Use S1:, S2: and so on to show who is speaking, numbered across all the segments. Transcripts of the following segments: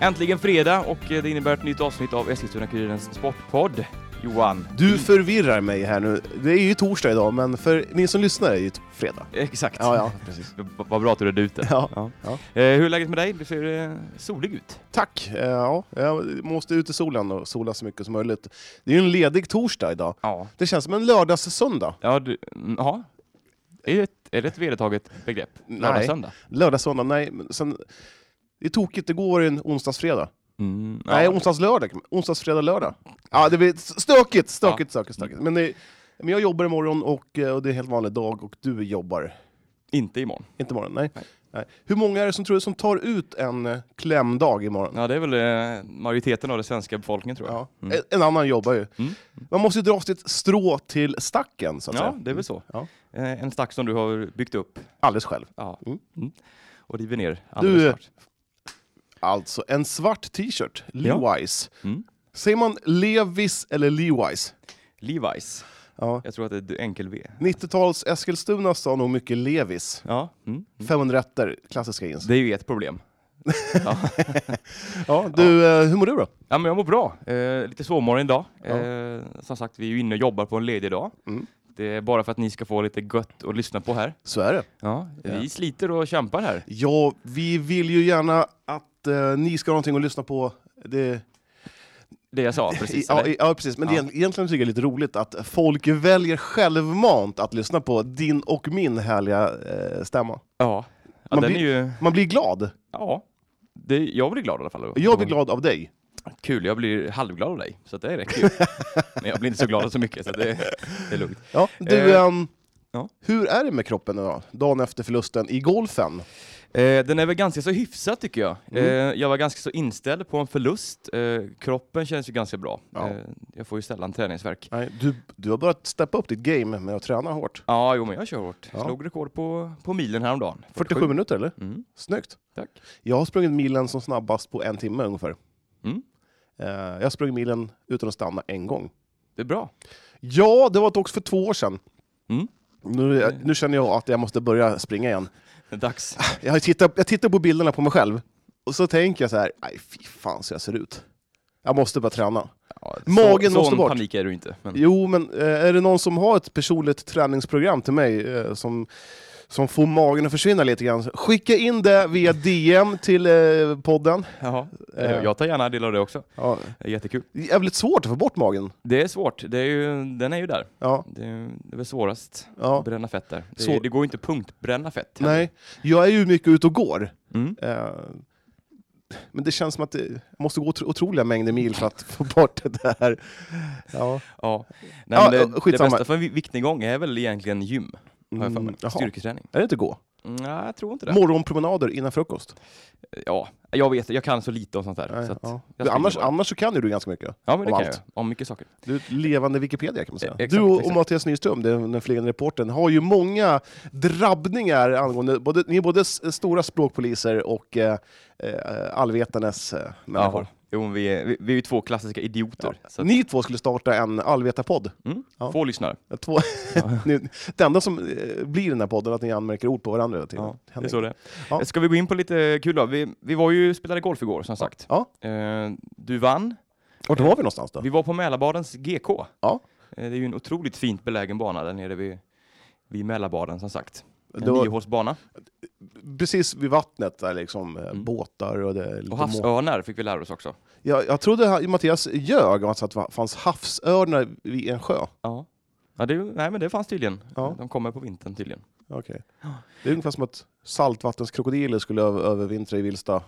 S1: Äntligen fredag och eh, det innebär ett nytt avsnitt av Eskilstuna-Kurirens Sportpodd. Johan. Eh,
S2: Du förvirrar mig här nu. Det är ju torsdag idag, men för ni som lyssnar är det ju fredag.
S1: Exakt.
S2: Ja, ja, precis.
S1: V- Vad bra att du redde ut det.
S2: Ja.
S1: Eh, hur är läget med dig? Du ser eh, solig ut.
S2: Tack! Eh, Ja, jag måste ut i solen och sola så mycket som möjligt. Det är ju en ledig torsdag idag.
S1: Ja.
S2: Det känns som en lördagssöndag.
S1: Ja, du, mm, ja. Är det, ett- är det ett vedertaget begrepp?
S2: Nej.
S1: Lördag, söndag?
S2: Lördagssöndag, nej. men Sen, det är tokigt, igår var det en onsdagsfredag.
S1: Mm,
S2: Nej,
S1: ja.
S2: onsdagslördag. Onsdagsfredag-lördag. Ja, det blir stökigt, stökigt, stökigt, stökigt. Men, det, men jag jobbar imorgon och, eh, och det är en helt vanlig dag och du jobbar.
S1: Inte imorgon.
S2: Inte imorgon, nej.
S1: Nej.
S2: nej. Hur många är det som tror som tar ut en eh, klämdag imorgon?
S1: Ja, det är väl eh, majoriteten av den svenska befolkningen tror jag.
S2: Ja.
S1: Mm.
S2: En- En annan jobbar ju.
S1: Mm.
S2: Man måste ju dra sitt strå till stacken, så att
S1: Ja,
S2: säga. Mm.
S1: det är väl så.
S2: Ja.
S1: Eh, en stack som du har byggt upp
S2: Alldeles själv.
S1: ja.
S2: Mm.
S1: Mm. och river ner
S2: Du,
S1: alldeles snart.
S2: Alltså, en svart t-shirt, Levi's.
S1: Mm.
S2: Säger man Levis eller Levi's?
S1: Levi's.
S2: Ja.
S1: Jag tror att det är ett enkel V.
S2: 90-tals Eskilstuna sa nog mycket Levis.
S1: Ja. Mm.
S2: 500 rätter, klassiska jeans.
S1: Det är ju ett problem. ja.
S2: Ja, du, eh, hur mår du då?
S1: ja, men jag mår bra. Eh, lite sovmorgon idag. Eh, som sagt, vi är ju inne och jobbar på en ledig dag.
S2: Mm.
S1: Det är bara för att ni ska få lite gött att lyssna på här.
S2: Så är det.
S1: Ja, vi
S2: Ja.
S1: sliter och kämpar här.
S2: Ja, vi vill ju gärna att eh, ni ska ha någonting att lyssna på. Det,
S1: Det jag sa precis.
S2: ja,
S1: eller?
S2: i- ja, precis. Men det är
S1: Ja.
S2: egent- egentligen tycker jag det är lite roligt att folk väljer självmant att lyssna på din och min härliga eh, stämma.
S1: ja. ja
S2: Man
S1: den är
S2: blir-
S1: ju...
S2: Man blir glad.
S1: Ja. Det, jag blir glad i alla fall.
S2: Jag blir glad av dig.
S1: Kul, jag blir halvglad av dig. Så att det räcker ju. Men jag blir inte så glad av så mycket, så att det, det är lugnt.
S2: Ja, du,
S1: Eh,
S2: ehm,
S1: ja.
S2: hur är det med kroppen idag? Dagen efter förlusten i golfen?
S1: Eh, den är väl ganska så hyfsad tycker jag.
S2: Mm.
S1: Eh, jag var ganska så inställd på en förlust. Eh, kroppen känns ju ganska bra.
S2: Ja.
S1: Eh, jag får ju sällan träningsvärk.
S2: Nej, du, du har börjat steppa upp ditt game med att träna hårt.
S1: Ja, jo men jag kör hårt.
S2: Ja.
S1: Slog rekord på, på milen häromdagen.
S2: 47, minuter eller?
S1: Mm,
S2: Snyggt.
S1: tack.
S2: Jag har sprungit milen som snabbast på en timme ungefär.
S1: Mm.
S2: Eh, jag har sprungit milen utan att stanna en gång.
S1: Det är bra.
S2: Ja, det var dock för två år sedan.
S1: Mm.
S2: Nu, eh, nu känner jag att jag måste börja springa igen.
S1: Det är dags.
S2: Jag, har tittat, jag tittar på bilderna på mig själv och så tänker jag så här, nej fy fan så jag ser ut. Jag måste börja träna.
S1: Ja,
S2: Magen
S1: så,
S2: måste
S1: sån
S2: bort.
S1: panik är du inte. Men,
S2: Jo, men eh, är det någon som har ett personligt träningsprogram till mig eh, som, som får magen att försvinna lite grann, skicka in det via DM till eh, podden.
S1: Jaha. Eh,
S2: Eh.
S1: Jag tar gärna del av det också.
S2: Ja,
S1: Det är jättekul.
S2: det är jävligt svårt att få bort magen.
S1: Det är svårt. Det är ju, den är ju där.
S2: Ja,
S1: Det är, det är väl svårast
S2: ja.
S1: att bränna fett där. Det,
S2: Så-
S1: det går ju inte punktbränna fett. heller.
S2: Nej, jag är ju mycket ute och går.
S1: Mm.
S2: Eh, Men det känns som att det jag måste gå otro- otroliga mängder mil för att få bort det där. Ja.
S1: Ja. Nej,
S2: Ja,
S1: men
S2: ja,
S1: det, det
S2: skitsamma.
S1: bästa för en vi- viktnedgång är väl egentligen gym, har jag för mig.
S2: Mm, jaha.
S1: Styrketräning.
S2: Är det inte gå?
S1: Mm, Nej, jag tror inte det.
S2: Morgonpromenader innan frukost?
S1: Ja, jag vet Jag kan så lite om sånt där.
S2: Nej,
S1: så att
S2: ja.
S1: jag ska
S2: annars,
S1: jobba.
S2: annars så kan ju du ganska mycket.
S1: ja, men det
S2: om
S1: kan jag.
S2: allt.
S1: Om mycket saker.
S2: Du är ett levande Wikipedia kan man säga.
S1: Eh, exakt,
S2: du och, och
S1: exakt.
S2: Mattias Nyström, den, den flygande reportern, har ju många drabbningar angående... Både, ni är både s- stora språkpoliser och eh, eh, allvetandes eh, människor.
S1: Ja. Jo, men vi, är, vi, vi är ju två klassiska idioter. Så att,
S2: Ni två skulle starta en allvetarpodd.
S1: mm,
S2: Ja.
S1: Få lyssnare.
S2: Två, ni, det enda som eh, blir i den här podden är att ni anmärker ord på varandra hela tiden.
S1: Ja, det är
S2: Henrik.
S1: så det är.
S2: Ja.
S1: Ska vi gå in på lite kul då? Vi, vi var ju spelade golf igår, som sagt.
S2: Ja.
S1: Eh, du vann.
S2: Vart var vi någonstans då?
S1: Vi var på Mälarbadens GK.
S2: Ja.
S1: Eh, det är ju en otroligt fint belägen bana där nere vid, vid Mälarbaden, som sagt. En
S2: Det var
S1: niohålsbana.
S2: precis vid vattnet där liksom, eh,
S1: Mm.
S2: båtar och det är lite
S1: Och
S2: må-
S1: havsörnar fick vi lära oss också.
S2: jag, jag trodde ha- Mattias ljög om att det fanns havsörnar vid en sjö.
S1: Ja. Ja, det, nej, men det fanns tydligen.
S2: Ja.
S1: De kommer på vintern tydligen.
S2: Okej. Det är ungefär som att saltvattenskrokodiler skulle ö- övervintra i Vilsta,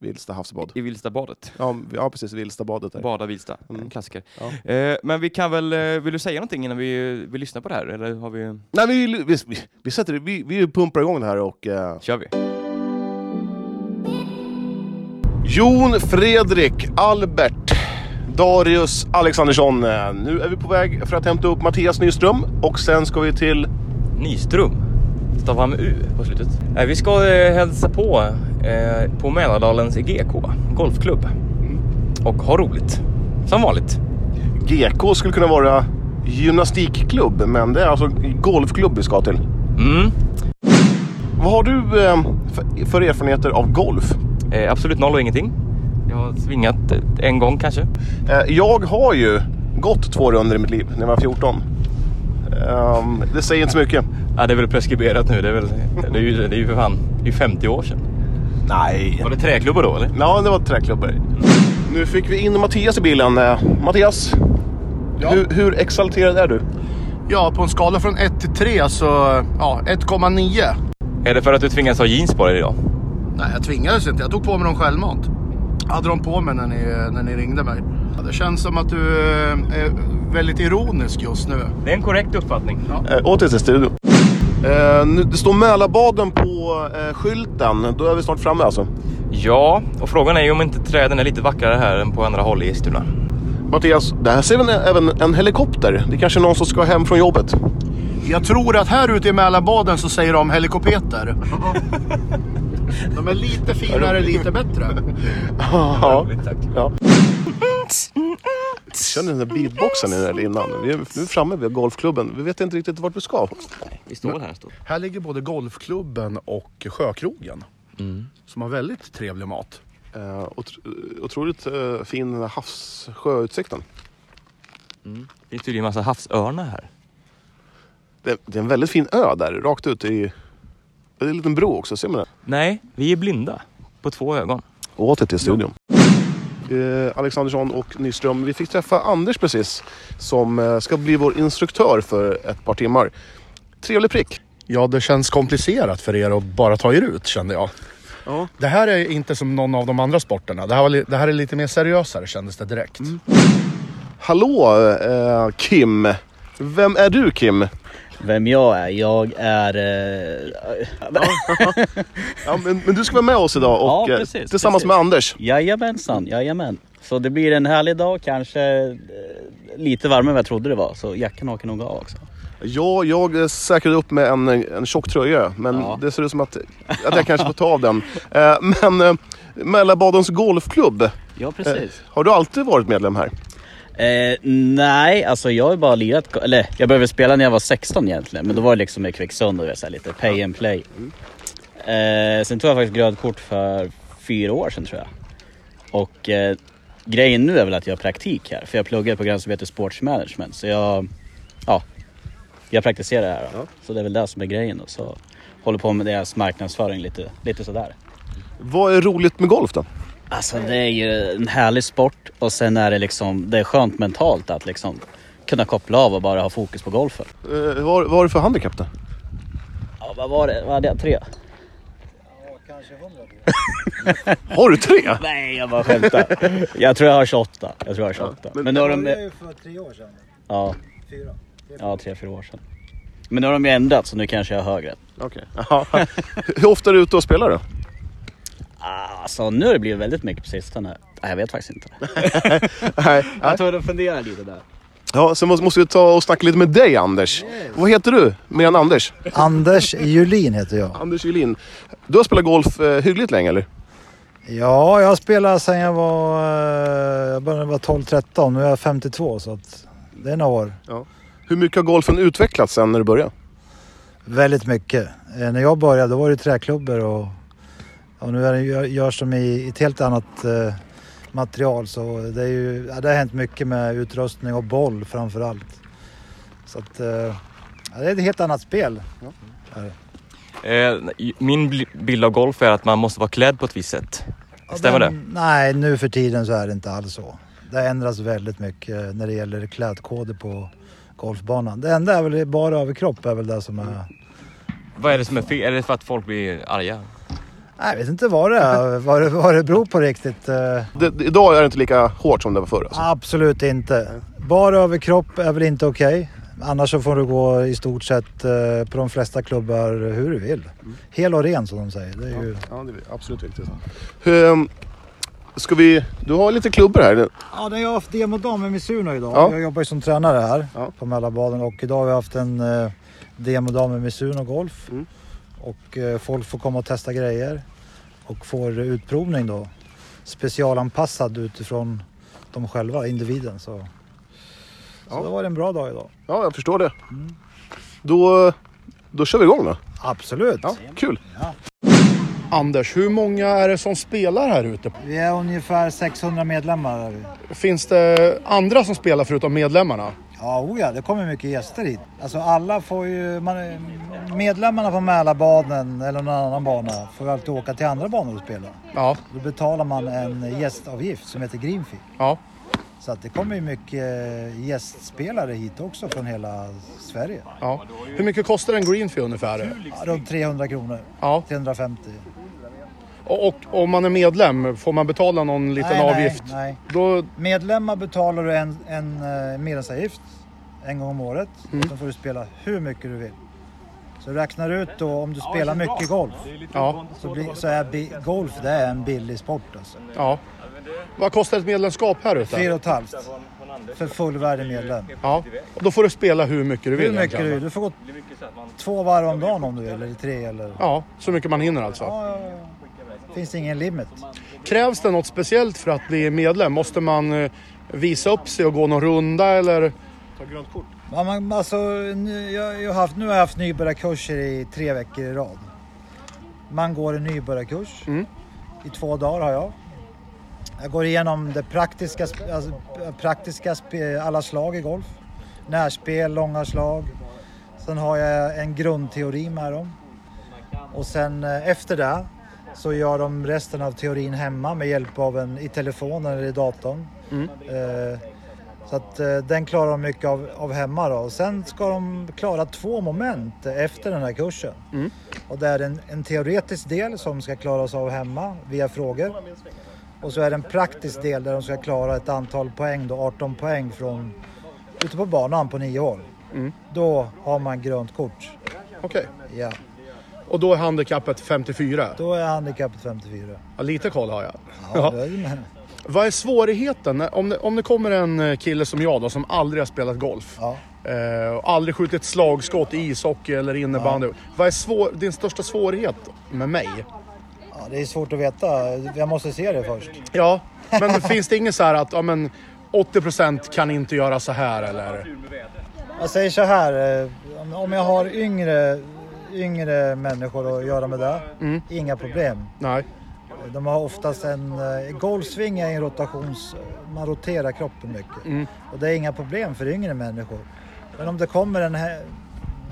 S2: Vilsta havsbad.
S1: I Vilstabadet.
S2: Ja, m- ja precis, Vilstabadet där.
S1: Bada Vilsta,
S2: Mm.
S1: en klassiker.
S2: Ja.
S1: Eh, men vi kan väl, eh, vill du säga någonting innan vi, vi lyssnar på det här? Eller har vi,
S2: Nej, vi, vi, vi, vi, sätter, det- vi, vi pumpar igång det här och eh,
S1: kör vi?
S2: Jon Fredrik, Albert, Darius Alexandersson. Eh, Nu är vi på väg för att hämta upp Mattias Nyström och sen ska vi till...
S3: Nyström. Stavar med U på slutet. Nej, vi ska eh, hälsa på eh, på Mälardalens GK
S2: Mm.
S3: golfklubb. Och ha roligt. Som vanligt.
S2: GK skulle kunna vara gymnastikklubb, men det är alltså golfklubb vi ska till.
S3: Mm.
S2: Vad har du eh, för, för erfarenheter av golf?
S3: Eh, absolut noll och ingenting. Jag har svingat eh, en gång kanske.
S2: Eh, Jag har ju gått två runder i mitt liv när jag var 14. Ehm, det säger inte så mycket.
S3: Ja, det är väl preskriberat nu. Det är, väl, det är, ju, det är ju för fan det är ju 50 år sedan.
S2: Nej.
S3: Var det träklubbor då eller?
S2: Ja, det var träklubbor. Nu fick vi in Mattias i bilen. Eh, Mattias,
S4: Ja.
S2: hur, hur exalterad är du?
S4: Ja, på en skala från 1 till 3 så ja, 1,9.
S3: Är det för att du tvingas ha jeans på dig idag?
S4: Nej, jag tvingades inte. Jag tog på mig dem självmant. Jag hade dem på mig när ni, när ni ringde mig. Ja, Det känns som att du eh, är väldigt ironisk just nu.
S3: Det är en korrekt uppfattning.
S2: Eh, Åter till studion. Eh, nu, det står Mälarbaden på eh, skylten. Då är vi snart framme alltså.
S3: Ja, och frågan är ju om inte träden är lite vackrare här än på andra håll i Eskilstuna.
S2: Mattias, det här ser vi en- även en helikopter. Det är kanske är någon som ska hem från jobbet.
S4: Jag tror att här ute i Mälarbaden så säger de helikopeter. De är lite finare, lite bättre.
S2: Ja.
S3: Roligt, tack.
S2: ja. Kör ni den där beatboxen nu eller innan? Vi är nu framme vid golfklubben. Vi vet inte riktigt vart vi ska.
S3: Vi står här. Står.
S4: Här ligger både golfklubben och sjökrogen. Som har väldigt trevlig mat.
S2: Eh, otro- otroligt eh, fin havssjöutsikten.
S3: Det är tydligen en massa havsörnar här.
S2: Det, det är en väldigt fin ö där, rakt ut i... Det är en liten bro också, ser man den?
S3: Nej, vi är blinda på två ögon.
S2: Åter till studion. Eh, Alexandersson och Nyström, vi fick träffa Anders precis som eh, ska bli vår instruktör för ett par timmar. Trevlig prick.
S4: Ja, det känns komplicerat för er att bara ta er ut kände jag.
S2: Ja.
S4: Det här är inte som någon av de andra sporterna. Det här, var li- det här är lite mer seriösare kändes det direkt.
S2: Hallå eh, Kim! Vem är du Kim?
S5: Vem jag är? Jag är... Eh,
S2: Ja, men, men du ska vara med oss idag
S5: Ja,
S2: och eh,
S5: precis,
S2: tillsammans
S5: precis.
S2: med Anders.
S5: jajamensan, jajamän. Så det blir en härlig dag, kanske eh, lite varmare än vad jag trodde det var. Så jackan hakar nog av också.
S2: Ja, jag eh, säkrade upp med en, en tjock tröja, men
S5: Ja.
S2: det ser ut som att, att jag kanske får ta av den. Eh, men eh, Mälardalens golfklubb, eh,
S5: Ja, precis.
S2: har du alltid varit medlem här?
S5: Eh, nej, alltså jag har bara lirat... Eller jag började spela när jag var 16 egentligen. Men då var det liksom med Kvicksund och det var så här lite pay and play. Eh, sen tog jag faktiskt grönt kort för fyra år sedan tror jag. Och eh, grejen nu är väl att jag har praktik här. För jag pluggar ett program som heter Sports Management. Så jag, ja, jag praktiserar här. Då. Så det är väl det som är grejen. Då. Så håller på med deras marknadsföring lite, lite sådär.
S2: Vad är roligt med golf då?
S5: Alltså det är ju en härlig sport och sen är det liksom, det är skönt mentalt att liksom kunna koppla av och bara ha fokus på golfen.
S2: Eh, vad, vad är det för handikapp då?
S5: Ja, vad var det? Vad hade jag? Tre?
S2: Har du tre?
S5: Nej, jag bara skämtar. jag tror jag har 28. Jag tror jag har 28. men, nu har de...
S6: Det är ju för tre år sedan.
S5: Ja,
S6: Fyra.
S5: ja, tre, fyra år sedan. Men nu har de ju ändrat så nu kanske jag har högre.
S2: Okej. Ja. Hur ofta är du ute och spelar då?
S5: Alltså nu har det blivit väldigt mycket på sistone. Nej, jag vet faktiskt inte.
S2: Nej. nej.
S5: tror att fundera lite där.
S2: Ja, sen måste- måste vi ta och snacka lite med dig Anders. Vad heter du mer än Anders?
S6: Anders Julin heter jag.
S2: Anders Julin. Du har spelat golf eh, hyggligt länge eller?
S6: Ja, jag spelade sedan jag var... eh, Jag började när jag var 12-13. Nu är jag 52 så att det är några år.
S2: Hur mycket har golfen utvecklats sen när du började?
S6: Väldigt mycket. Eh, När jag började då var det träklubbor och, och nu är det, gör- görs de i ett helt annat eh, material. Så det, är ju, ja, det har hänt mycket med utrustning och boll framför allt. Så att, eh, ja, det är ett helt annat spel.
S3: Eh, min bl- bild av golf är att man måste vara klädd på ett visst sätt.
S6: Ja,
S3: Stämmer
S6: men, Nej, nu för tiden så är det inte alls så. Det ändras väldigt mycket när det gäller klädkoder på golfbanan. Det enda är väl bara överkropp är väl det som är...
S3: Vad är det som är fel? Är det för att folk blir arga?
S6: Nej, jag vet inte vad det är, vad det, vad det beror på riktigt. eh.
S2: Det, det, idag är det inte lika hårt som det var förr alltså.
S6: Absolut inte. Bara överkropp är väl inte okej. Annars så får du gå i stort sett eh, på de flesta klubbar hur du vill. Hel och ren som de säger. Det är ju...
S2: Ja, det är absolut viktigt. Hur, Ehm, ska vi... Du har lite klubbor här.
S6: Ja, det har jag haft demodag med Misuno idag.
S2: Ja.
S6: Jag jobbar ju som tränare här
S2: Ja.
S6: på Mälarbaden och idag har vi haft en eh, demodag med Misuno Golf.
S2: Mm.
S6: Och eh, folk får komma och testa grejer och får eh, utprovning då. Specialanpassad utifrån dem själva, individen. Så.
S2: Ja.
S6: Så det var en bra dag idag.
S2: Ja, jag förstår det. Då, då kör vi igång då.
S6: Absolut.
S2: Ja, kul.
S4: Anders, hur många är det som spelar här ute?
S6: Vi är ungefär 600 medlemmar. Där.
S4: Finns det andra som spelar förutom medlemmarna?
S6: Ja, oh ja, det kommer mycket gäster hit. Alltså alla får ju, man, medlemmarna på Mälarbanan eller någon annan bana får alltid åka till andra banor och spela.
S4: Ja,
S6: Då betalar man en gästavgift som heter Greenfee.
S4: ja.
S6: Så att det kommer ju mycket gästspelare hit också från hela Sverige.
S4: ja. Hur mycket kostar en greenfee ungefär?
S6: Ja, runt 300 kronor.
S4: Ja.
S6: 350.
S4: Och, och om man är medlem, får man betala någon liten
S6: Nej, nej,
S4: avgift?
S6: nej.
S4: Då,
S6: Medlemmar betalar du en, en eh, medlemsavgift en gång om året.
S4: Mm.
S6: Då får du spela hur mycket du vill. Så räknar du ut då om du spelar mycket golf.
S4: ja,
S6: Så, blir, så Alltså, är bi, golf det är en billig sport alltså.
S4: ja. Vad kostar ett medlemskap här ute?
S6: Fyra och ett halvt för fullvärdig medlem.
S4: Ja. Då får du spela hur mycket du vill
S6: Hur mycket
S4: egentligen.
S6: du vill. Du får gå två varv om dagen om du vill, eller tre eller...
S4: Ja, så mycket man hinner alltså.
S6: Ja, finns det ingen limit.
S4: Krävs det något speciellt för att bli medlem? Måste man eh, visa upp sig och gå någon runda eller?
S6: Ja, man, alltså, nu, jag, jag har haft, nu har jag haft nybörjarkurser i tre veckor i rad. Man går en nybörjarkurs.
S4: Mm.
S6: I två dagar har jag. Jag går igenom det praktiska, sp- alltså, praktiska sp- alla slag i golf. Närspel, långa slag. Sen har jag en grundteori med dem. Och sen eh, efter det så gör de resten av teorin hemma med hjälp av en i telefonen eller i datorn. Eh, så att eh, den klarar de mycket av, av hemma då. Och sen ska de klara två moment efter den här kursen. Och det är en, en teoretisk del som ska klaras av hemma via frågor. Och så är det en praktisk del där de ska klara ett antal poäng då, 18 poäng från ute på banan på nio hål. Då har man grönt kort.
S4: Okej.
S6: Ja,
S4: Och då är handikappet 54.
S6: då är handikappet 54.
S4: Ja, lite koll har jag.
S6: Ja,
S4: Ja.
S6: det är ju med.
S4: Vad är svårigheten? när- Om det, om det kommer en eh, kille som jag då, som aldrig har spelat golf.
S6: ja.
S4: Eh, och aldrig skjutit slagskott i ishockey eller innebandy. Vad är svår, din största svårighet med mig?
S6: ja, det är svårt att veta. Jag måste se det först.
S4: Ja, men finns det ingen så här att ja, men 80% kan inte göra så här eller?
S6: Jag säger så här, eh, om- om jag har yngre, yngre människor att göra med det, inga problem.
S4: Nej.
S6: De har oftast en... eh, Golfsving är en rotations... Man roterar kroppen mycket. Och det är inga problem för yngre människor. Men om det kommer en he,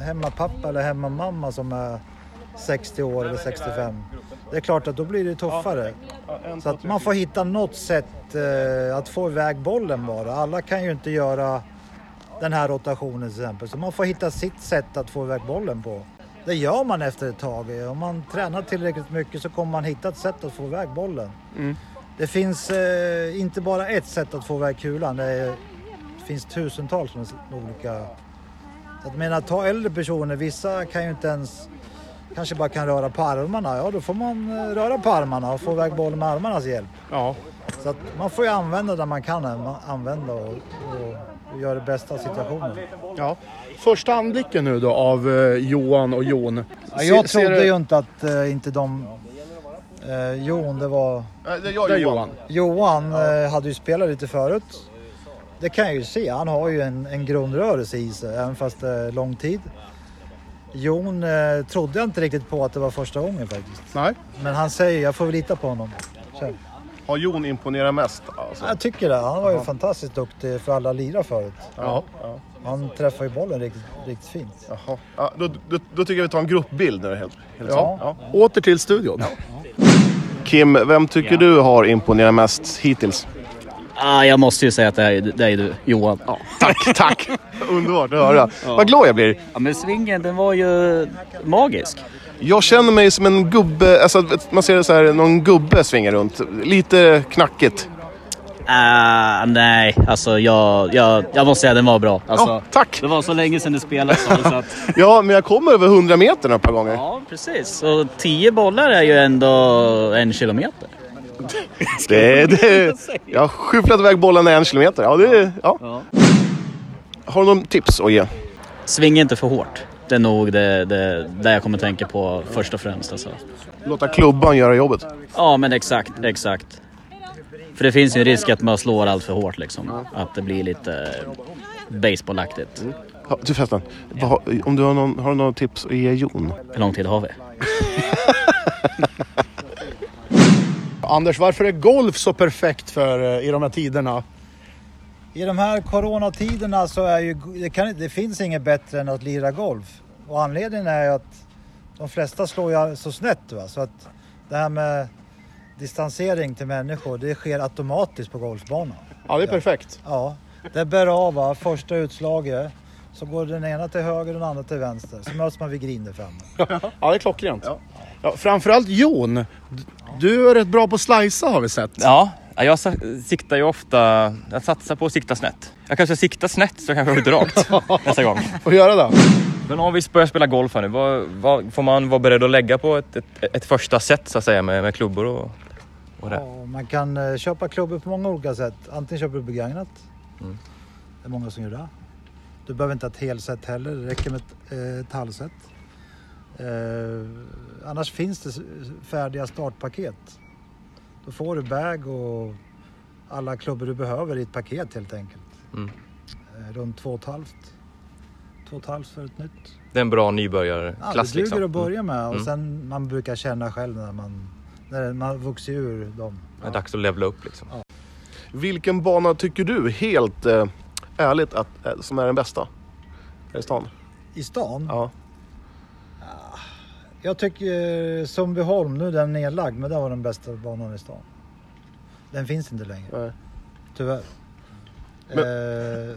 S6: hemmapappa eller hemmamamma som är 60 år eller 65. Det är klart att då blir det tuffare. Så att man får hitta något sätt eh, att få iväg bollen bara. Alla kan ju inte göra den här rotationen till exempel. Så man får hitta sitt sätt att få iväg bollen på. Det gör man efter ett tag. Om man tränar tillräckligt mycket så kommer man hitta ett sätt att få iväg bollen. Det finns eh, inte bara ett sätt att få iväg kulan. Det, är, det finns tusentals med olika... Så att menar, ta äldre personer, vissa kan ju inte ens... Kanske bara kan röra på armarna. Ja, då får man eh, röra på armarna och få iväg bollen med armarnas hjälp.
S4: Ja.
S6: Så att man får ju använda där man kan eh, använda och, och, och göra det bästa av situationen.
S4: ja. Första anblicken nu då av eh, Johan och Jon.
S6: Ja, jag
S4: Se- ser
S6: trodde
S4: du-
S6: ju inte att eh, inte de... Eh, Jon, det var...
S2: Det är
S4: Där Johan.
S6: Johan eh, hade ju spelat lite förut. Det kan jag ju se. Han har ju en, en grundrörelse i sig, även fast det är lång tid. Jon eh, trodde jag inte riktigt på att det var första gången faktiskt.
S4: Nej.
S6: Men han säger, jag får väl lita på honom. Så.
S2: Har Jon imponerat mest? Alltså.
S6: Jag tycker det. Han var ju fantastiskt duktig för alla lirar förut.
S4: Ja.
S6: Han träffar ju bollen riktigt, riktigt fint.
S2: Jaha. Ja, då, då, då tycker jag vi tar en gruppbild nu helt, helt
S6: Ja.
S2: ja.
S4: Åter till studion.
S2: Kim, vem tycker du har imponerat mest hittills?
S5: Ah, jag måste ju säga att det här är, det här är du, Johan. Ja.
S2: Tack, tack! Underbart att höra. Vad glad jag blir.
S5: men svingen, den var ju magisk.
S2: Jag känner mig som en gubbe, alltså man ser det så här, någon gubbe svinga runt. Lite knackigt.
S5: Ah, nej, alltså jag, jag, jag måste säga att den var bra. Alltså,
S2: Ja, tack!
S5: Det var så länge sedan du spelade så, så att,
S2: Ja, men jag kommer över 100 meter ett par gånger.
S5: Ja, precis. Och tio bollar är ju ändå en kilometer.
S2: Det, det,
S5: säga.
S2: jag har skyfflat iväg bollarna en kilometer. Ja, det, ja.
S5: Ja.
S2: Har du någon tips att ge?
S5: Svinga inte för hårt. Det är nog det, det, det jag kommer tänka på först och främst. Alltså.
S2: Låta klubban göra jobbet.
S5: Ja, men exakt, exakt. För det finns ju en risk att man slår allt för hårt liksom. Att det blir lite... baseballaktigt.
S2: Ha, Du förresten, vad har- om du har, någon, har du några tips att ge Jon?
S5: Hur lång tid har vi?
S4: Anders, varför är golf så perfekt för, eh, i de här tiderna?
S6: I de här coronatiderna så är ju, det, kan, det finns inget bättre än att lira golf. Och anledningen är ju att de flesta slår ju så snett. Va? Så att det här med distansering till människor, det sker automatiskt på golfbanan.
S4: Ja, det är perfekt.
S6: Ja, det bär av va? första utslaget. Så går den ena till höger och den andra till vänster. Så möts man vid green där framme.
S4: Ja, det är klockrent. Ja. framförallt Jon. D- Du är rätt bra på att slicea har vi sett.
S3: Ja, ja, jag sa- siktar ju ofta... Jag satsar på att sikta snett. Jag kanske siktar snett så kanske jag skjuter rakt nästa gång.
S4: Får göra det?
S3: Men om vi börjar spela golf här nu, vad, vad får man vara beredd att lägga på ett, ett, ett första set så att säga med, med klubbor och, och det?
S6: Ja, man kan eh, köpa klubbor på många olika sätt. Antingen köper du begagnat.
S3: Mm.
S6: Det är många som gör det. Du behöver inte ha ett helset heller. Det räcker med ett, eh, ett halvset. Eh, annars finns det s- färdiga startpaket. Då får du bag och alla klubbor du behöver i ett paket helt enkelt.
S3: Mm.
S6: Eh, runt två och ett halvt. Två och ett halvt för ett nytt.
S3: Det är en bra
S6: Ja,
S3: nybörjarklass
S6: det duger
S3: liksom.
S6: att börja med och
S3: Mm.
S6: sen man brukar känna själv när man, när man vuxit ur dem.
S3: Mm. Det är dags att levla upp liksom.
S2: Vilken bana tycker du, helt eh, ärligt, att, eh, som är den bästa? Här i stan?
S6: I stan? Ah,
S2: Ja.
S6: Jag tycker eh, Sundbyholm, nu är den nedlagd, men det var den bästa banan i stan. Den finns inte längre.
S2: Nej.
S6: Tyvärr. Eh,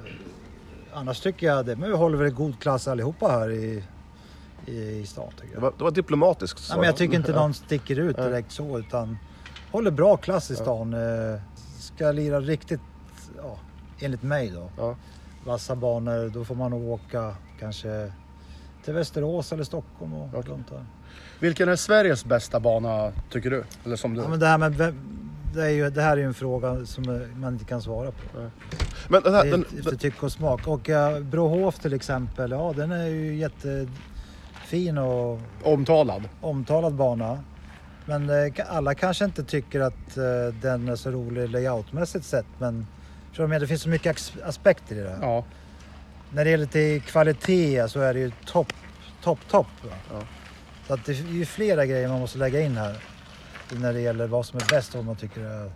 S6: annars tycker jag det, men vi håller väl god klass allihopa här i, i, i stan tycker
S2: Det
S6: jag.
S2: var, det var diplomatiskt
S6: Nej,
S2: svar.
S6: men jag tycker inte någon sticker ut direkt så utan håller bra klass i stan. Eh, Ska lira riktigt, ja, enligt mig då,
S2: Ja.
S6: vassa banor då får man nog åka kanske till Västerås eller Stockholm och runt där.
S4: Vilken är Sveriges bästa bana tycker du? Eller som du?
S6: Ja, men det, här med vem, det, är ju, det här är ju en fråga som eh, man inte kan svara på.
S2: Men den här,
S6: Det är
S2: den,
S6: ett- efter tycke och smak. Och eh, Brohof till exempel, ja den är ju jättefin och
S4: Omtalad.
S6: omtalad bana. Men eh, ka- alla kanske inte tycker att eh, den är så rolig layoutmässigt sett. Men förstår du vad jag menar? det finns så mycket ax- aspekter i det. här.
S4: Ja.
S6: När det gäller till kvalitet så är det ju topp, topp, topp. va. Så att det är ju flera grejer man måste lägga in här. När det gäller vad som är bäst och vad man tycker är...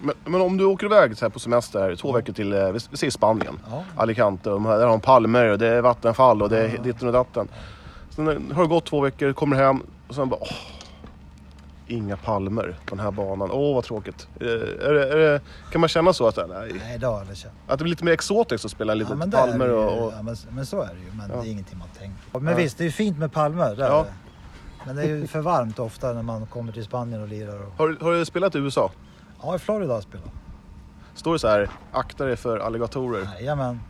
S2: men, men om du åker iväg så här på semester här, i två veckor till, eh, vi, vi säger Spanien,
S6: Ja.
S2: Alicante, och de här, där har de palmer och det är vattenfall och det är ditten och datten. Sen eh, har det gått två veckor, kommer hem och sen bara åh, inga palmer på den här banan. Åh vad tråkigt. Eh, Är det, är det, kan man känna så att, eh, nej,
S6: Nej, det har jag aldrig känt.
S2: att det blir lite mer exotiskt att spela lite
S6: Ja, men, det är
S2: palmer
S6: ju,
S2: och... och
S6: ja, men, men så är det ju. Men det är ingenting man tänker på. Men visst, det är ju fint med palmer. Där
S2: Ja.
S6: är det. Men det är ju för varmt ofta när man kommer till Spanien och lirar. Och...
S2: har, du- har du spelat i USA?
S6: Ja, i Florida har jag spelat.
S2: Står det så här, akta dig för alligatorer.
S6: Jajamän.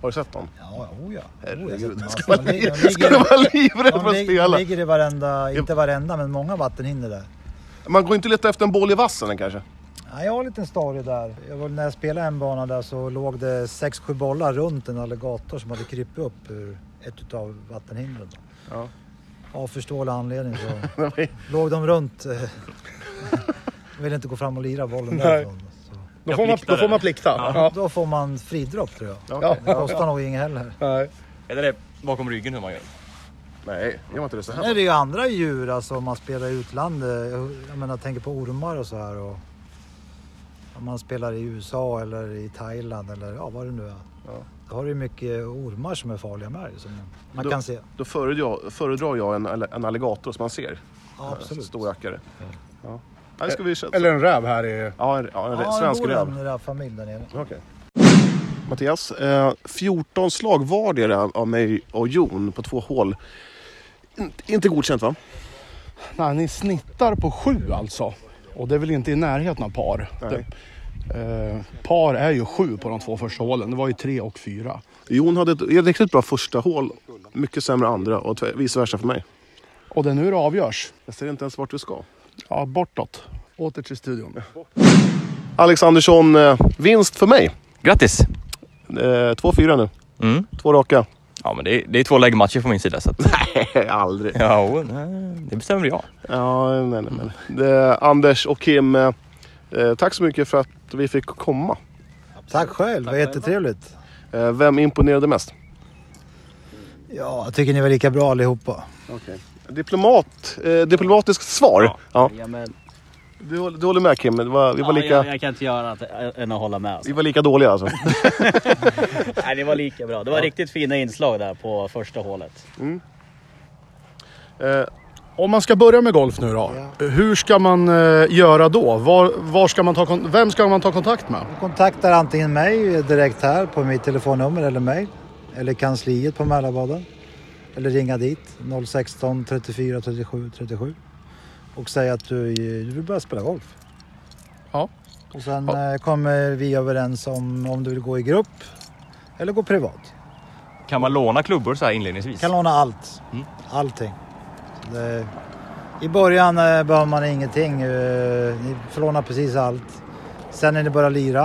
S2: Har du sett dem?
S6: Ja, oh ja.
S2: Herregud,
S6: Oh,
S2: ska man,
S6: de
S2: li-
S6: ligger-
S2: ska man vara livrädd för
S6: de
S2: att
S6: lig-
S2: spela?
S6: De ligger i varenda, inte varenda, men många vattenhinder där.
S2: Man går inte leta efter en boll i vassen kanske?
S6: Ja, jag har en liten story där. Jag var, när jag spelade en bana där så låg det sex sju bollar runt en alligator som hade krypit upp ur ett av vattenhindren. då.
S2: Ja.
S6: Av förståelig anledning så låg de runt. eh, De ville inte gå fram och lira bollen därifrån. Så.
S4: Då får, man, då får man plikta. Ja.
S6: Då får man fridropp tror jag.
S2: Okej.
S6: Det kostar nog inget heller.
S4: Nej.
S3: Eller det är bakom ryggen hur man gör.
S2: Nej, gör man inte det så
S6: Sen
S2: här?
S6: är det ju andra djur, alltså om man spelar i utlandet. Jag, jag menar, tänker på ormar och så här. Och, om man spelar i USA eller i Thailand eller ja, vad det nu är. Då har du ju mycket ormar som är farliga med dig, som man
S2: Då-
S6: kan se.
S2: Då föredrar, föredrar jag en, en alligator som man ser.
S6: Ja, absolut.
S2: Storrackare. Ja. Ja, det ska vi köra.
S4: Eller en räv här i...
S2: Ja, en, ja, en
S6: Ja,
S2: svensk
S6: det bor
S2: räv.
S6: en rävfamilj där nere.
S2: Okej. Mattias, eh, 14 slag vardera av mig och Jon på två hål. In, inte godkänt va?
S4: Nej, ni snittar på sju alltså. Och det är väl inte i närheten av par. Typ. Eh, par är ju sju på de två första hålen. Det var ju tre och fyra.
S2: Jon hade ett riktigt bra första hål, mycket sämre andra och tve- vice versa för mig.
S4: Och det är nu det avgörs.
S2: Jag ser inte ens vart vi ska.
S4: Ja, bortåt. Åter till studion.
S2: Alexandersson, eh, vinst för mig.
S3: Grattis!
S2: Eh, 2-4 nu,
S3: Mm.
S2: två raka.
S3: Ja men det är, det är två läggmatcher från min sida så att...
S2: Aldrig.
S3: Ja, jo, nej, det bestämmer jag.
S2: Ja, nej, nej, nej. Det, Anders och Kim, eh, eh, tack så mycket för att vi fick komma.
S6: Tack själv, det var jättetrevligt.
S2: Eh, Vem imponerade mest?
S6: Ja, jag tycker ni var lika bra allihopa.
S2: Diplomat, eh, diplomatiskt svar. Ja.
S5: Jajamän.
S2: Du, håller- du håller med Kim, det var, vi, var
S5: Ja,
S2: lika,
S5: jag, jag kan inte göra annat än att hålla med. Alltså.
S2: vi var lika dåliga alltså.
S5: Nej, det var lika bra. Det var riktigt fina inslag där på första hålet.
S2: Eh,
S4: Om man ska börja med golf nu då. Hur ska man eh, göra då? Var, var ska man ta kon- vem ska man ta kontakt med?
S6: Kontaktar antingen mig direkt här på mitt telefonnummer eller mig. Eller kansliet på Mälarbaden. Eller ringa dit 016 34 37 37. Och säga att du, du vill börja spela golf.
S4: Ja.
S6: Och sen eh, kommer vi överens om om du vill gå i grupp eller gå privat.
S3: Kan man låna klubbor så här inledningsvis?
S6: Kan låna allt. Allting. Det, I början eh, behöver man ingenting. eh, Ni får låna precis allt. Sen när ni börjar lira,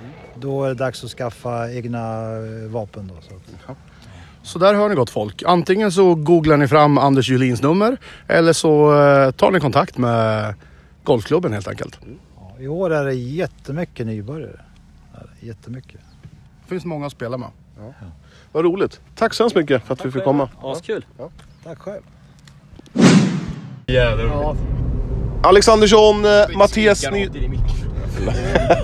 S6: Mm. då är det dags att skaffa egna eh, vapen. Då, så. att-
S4: Så där hör ni gott folk. Antingen så googlar ni fram Anders Julins nummer eller så eh, tar ni kontakt med golfklubben helt enkelt.
S6: Ja, I år är det jättemycket nybörjare. Ja, det är Jättemycket.
S4: Det finns många att spela med.
S2: vad roligt. Tack så hemskt mycket för att vi fick komma.
S5: Askul.
S6: Tack själv.
S2: Alexandersson, eh, Mattias Ny...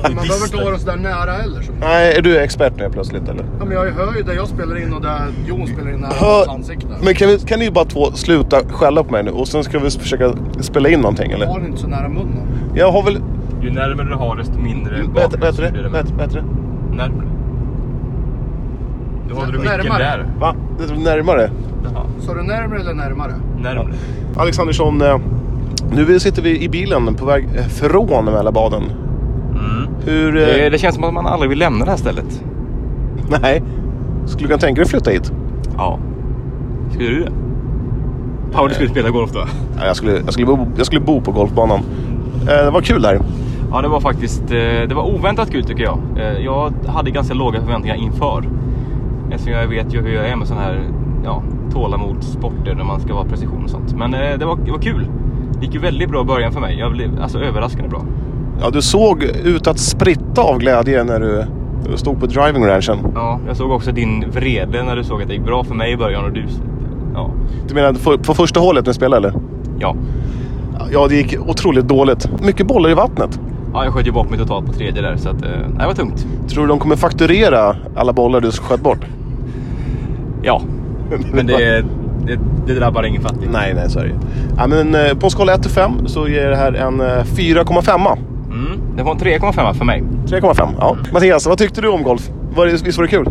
S4: Man behöver inte vara så där nära heller. Så.
S2: Nej, är du expert nu plötsligt eller?
S4: Ja, men jag hör ju där jag spelar in och där Jon spelar in nära
S2: Hör-
S4: hans ansikte.
S2: Men kan, vi, kan ni bara två sluta skälla på mig nu och sen ska vi försöka spela in någonting eller?
S4: Har ni inte så nära munnen?
S2: Jag har väl...
S3: Ju närmare du har desto mindre
S2: Vad heter- vad heter
S3: blir
S2: det? Vad heter- vad heter det?
S3: Närmare. Då håller du
S4: Närmare.
S3: micken där.
S2: Va? Det är närmare?
S4: Så är du närmare eller närmare?
S3: Närmare.
S2: Alexandersson, eh, nu sitter vi i bilen på väg eh, från Mälarbaden. Hur... eh,
S3: Mm. Det, det känns som att man aldrig vill lämna det här stället.
S2: Nej. Skulle du kunna tänka dig att flytta hit?
S3: Ja. Skulle du det? Paolo skulle spela golf då?
S2: Nej, jag skulle, jag skulle, bo, jag skulle bo på golfbanan. Eh, det var kul där.
S3: Ja, det var faktiskt eh, det var oväntat kul tycker jag. Eh, Jag hade ganska låga förväntningar inför. Eftersom jag vet ju hur jag är med sådana här ja, tålamodssporter när man ska vara precision och sånt. Men eh, det var, det var kul. Det gick ju väldigt bra i början för mig. Jag blev alltså överraskande bra.
S2: Ja, du såg ut att spritta av glädje när du stod på driving ranchen.
S3: Ja, jag såg också din vrede när du såg att det gick bra för mig i början och du... Ja.
S2: Du menar för, för första hålet ni spelade eller?
S3: Ja.
S2: Ja, det gick otroligt dåligt. Mycket bollar i vattnet.
S3: ja, jag sköt ju bort mig totalt på tredje där så att, eh, nej, det var tungt.
S2: Tror du de kommer fakturera alla bollar du sköt bort?
S3: Ja, men det, det, det drabbar ingen fattig.
S2: Nej, nej, så är det ju. ja, men eh, På en skala 1 till 5 så ger det här en eh, 4,5.
S3: Mm, det var en 3,5 för mig.
S2: 3,5. Ja. Mattias, vad tyckte du om golf? Var det, visst var det kul?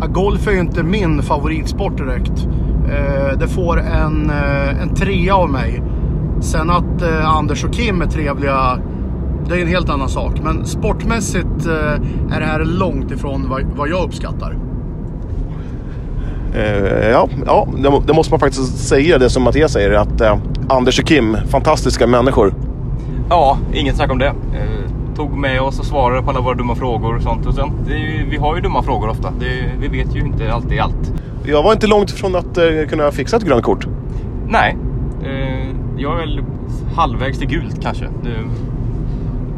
S4: Ja, golf är ju inte min favoritsport direkt. Eh, det får en, eh, en trea av mig. Sen att eh, Anders och Kim är trevliga, det är en helt annan sak. Men sportmässigt eh, är det här långt ifrån vad, vad jag uppskattar.
S2: Eh, ja, ja det, må- det måste man faktiskt säga det som Mattias säger. Att eh, Anders och Kim, fantastiska människor.
S3: Ja, inget snack om det. Eh, tog med oss och svarade på alla våra dumma frågor och sånt. Och sen, det är ju, vi har ju dumma frågor ofta. Det, är- vi vet ju inte alltid allt.
S2: Jag var inte långt ifrån att eh, kunna fixa ett grönt kort.
S3: Nej, eh, jag är väl halvvägs till gult kanske. Nu,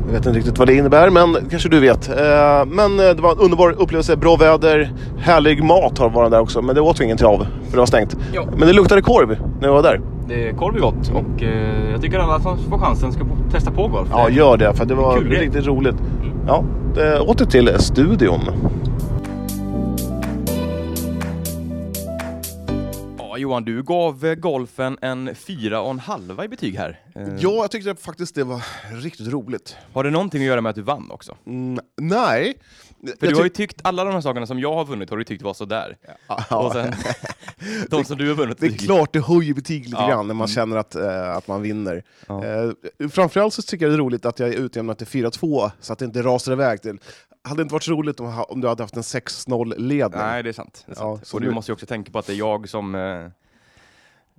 S2: Jag vet inte riktigt vad det innebär, men kanske du vet. Eh, men eh, det var en underbar upplevelse, bra väder, härlig mat har varit där också. Men det åt vi ingen till av, för det var stängt.
S3: Ja.
S2: Men det luktade korv när jag var där.
S3: det är korv är gott och eh, jag tycker alla som får chansen ska po- testa på golf.
S2: Ja, gör det, för det var
S3: Kul grej.
S2: riktigt roligt.
S1: Mm.
S2: Ja, eh, åter till studion.
S1: Ja, Johan, du gav eh, golfen en fyra och en halva i betyg här. Eh,
S7: Ja, jag tyckte faktiskt det var riktigt roligt.
S1: Har det någonting att göra med att du vann också?
S7: Mm, nej.
S1: För
S7: Jag
S1: du har ju
S7: tyck-
S1: tyckt alla de här sakerna som jag har vunnit har du tyckt var sådär.
S7: Ja,
S1: Och sen de som du har vunnit.
S7: det är klart, det höjer betyg lite
S1: Ja. Mm.
S7: grann när man känner att, eh, att man vinner.
S1: Ja.
S7: Eh, framförallt så tycker jag det är roligt att jag är utjämnat till 4-2 så att det inte rasar iväg. Till. Hade inte varit så roligt om, ha- om du hade haft en 6-0-ledning.
S1: Nej, det är sant. Det är
S7: Ja,
S1: sant.
S7: så
S1: och du
S7: nu-
S1: måste ju också tänka på att det är jag som... Eh,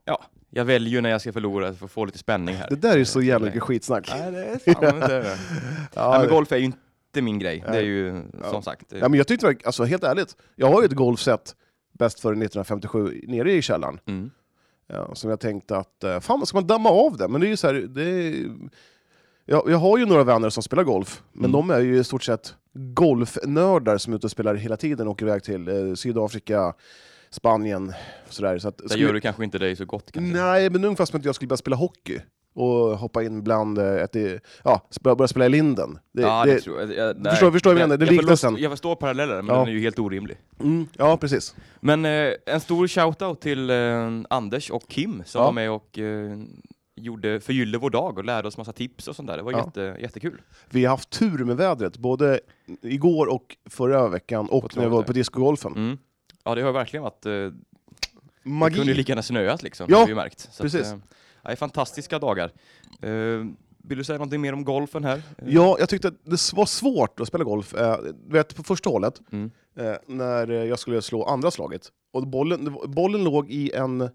S1: ja, jag väljer ju när jag ska förlora för att få lite spänning här. Eh,
S7: Det där är ju så jävla mycket skitsnack.
S1: Nej, det är fan inte det. Nej, men golf är ju inte min grej. Det är ju som sagt... eh,
S7: Ja, men jag tyckte, verk- alltså, helt ärligt, jag har ju ett golfset bäst före 1957 nere i källaren.
S1: Mm.
S7: Ja, som jag tänkte att, eh, fan ska man damma av det? Men det är ju så här, det är,
S2: Jag, jag har ju några vänner som spelar golf, men
S1: Mm.
S2: de är ju i stort sett golfnördar som är ute och spelar hela tiden och åker iväg till eh, Sydafrika, Spanien sådär. Så att,
S1: Där gör du kanske inte dig så gott kanske.
S2: Nej, men ungefär som att jag skulle börja spela hockey och hoppa in bland, eh, ett, i- ja, sp- börja spela i linden. Det,
S1: ja, det,
S2: det,
S1: tror jag. jag nej.
S2: förstår- förstår vad jag menar, det
S1: jag, förlåt-
S2: liknelsen.
S1: jag förstår parallellen, men
S2: Ja.
S1: den är ju helt orimlig.
S2: mm, ja, precis.
S1: Men eh, en stor shoutout till eh, Anders och Kim som
S2: Ja.
S1: var med och eh, gjorde, förgyllde vår dag och lärde oss massa tips och sånt där. Det var
S2: Ja.
S1: jätte, jättekul.
S2: Vi har haft tur med vädret, både igår och förra veckan
S1: På
S2: och när vi var
S1: travet,
S2: på discogolfen.
S1: Mm. Ja, det har verkligen varit... Eh, Det Mm. kunde ju
S2: Magi!
S1: lika gärna snöat liksom,
S2: Ja,
S1: har vi ju märkt. Så
S2: precis.
S1: Att, eh, ja, det är fantastiska dagar. Eh, vill du säga någonting mer om golfen här? Eh,
S2: Ja, jag tyckte att det s- var svårt att spela golf. Eh, Du vet, på första hålet,
S1: Mm.
S2: eh, när eh, jag skulle slå andra slaget, och bollen, det var- bollen låg i en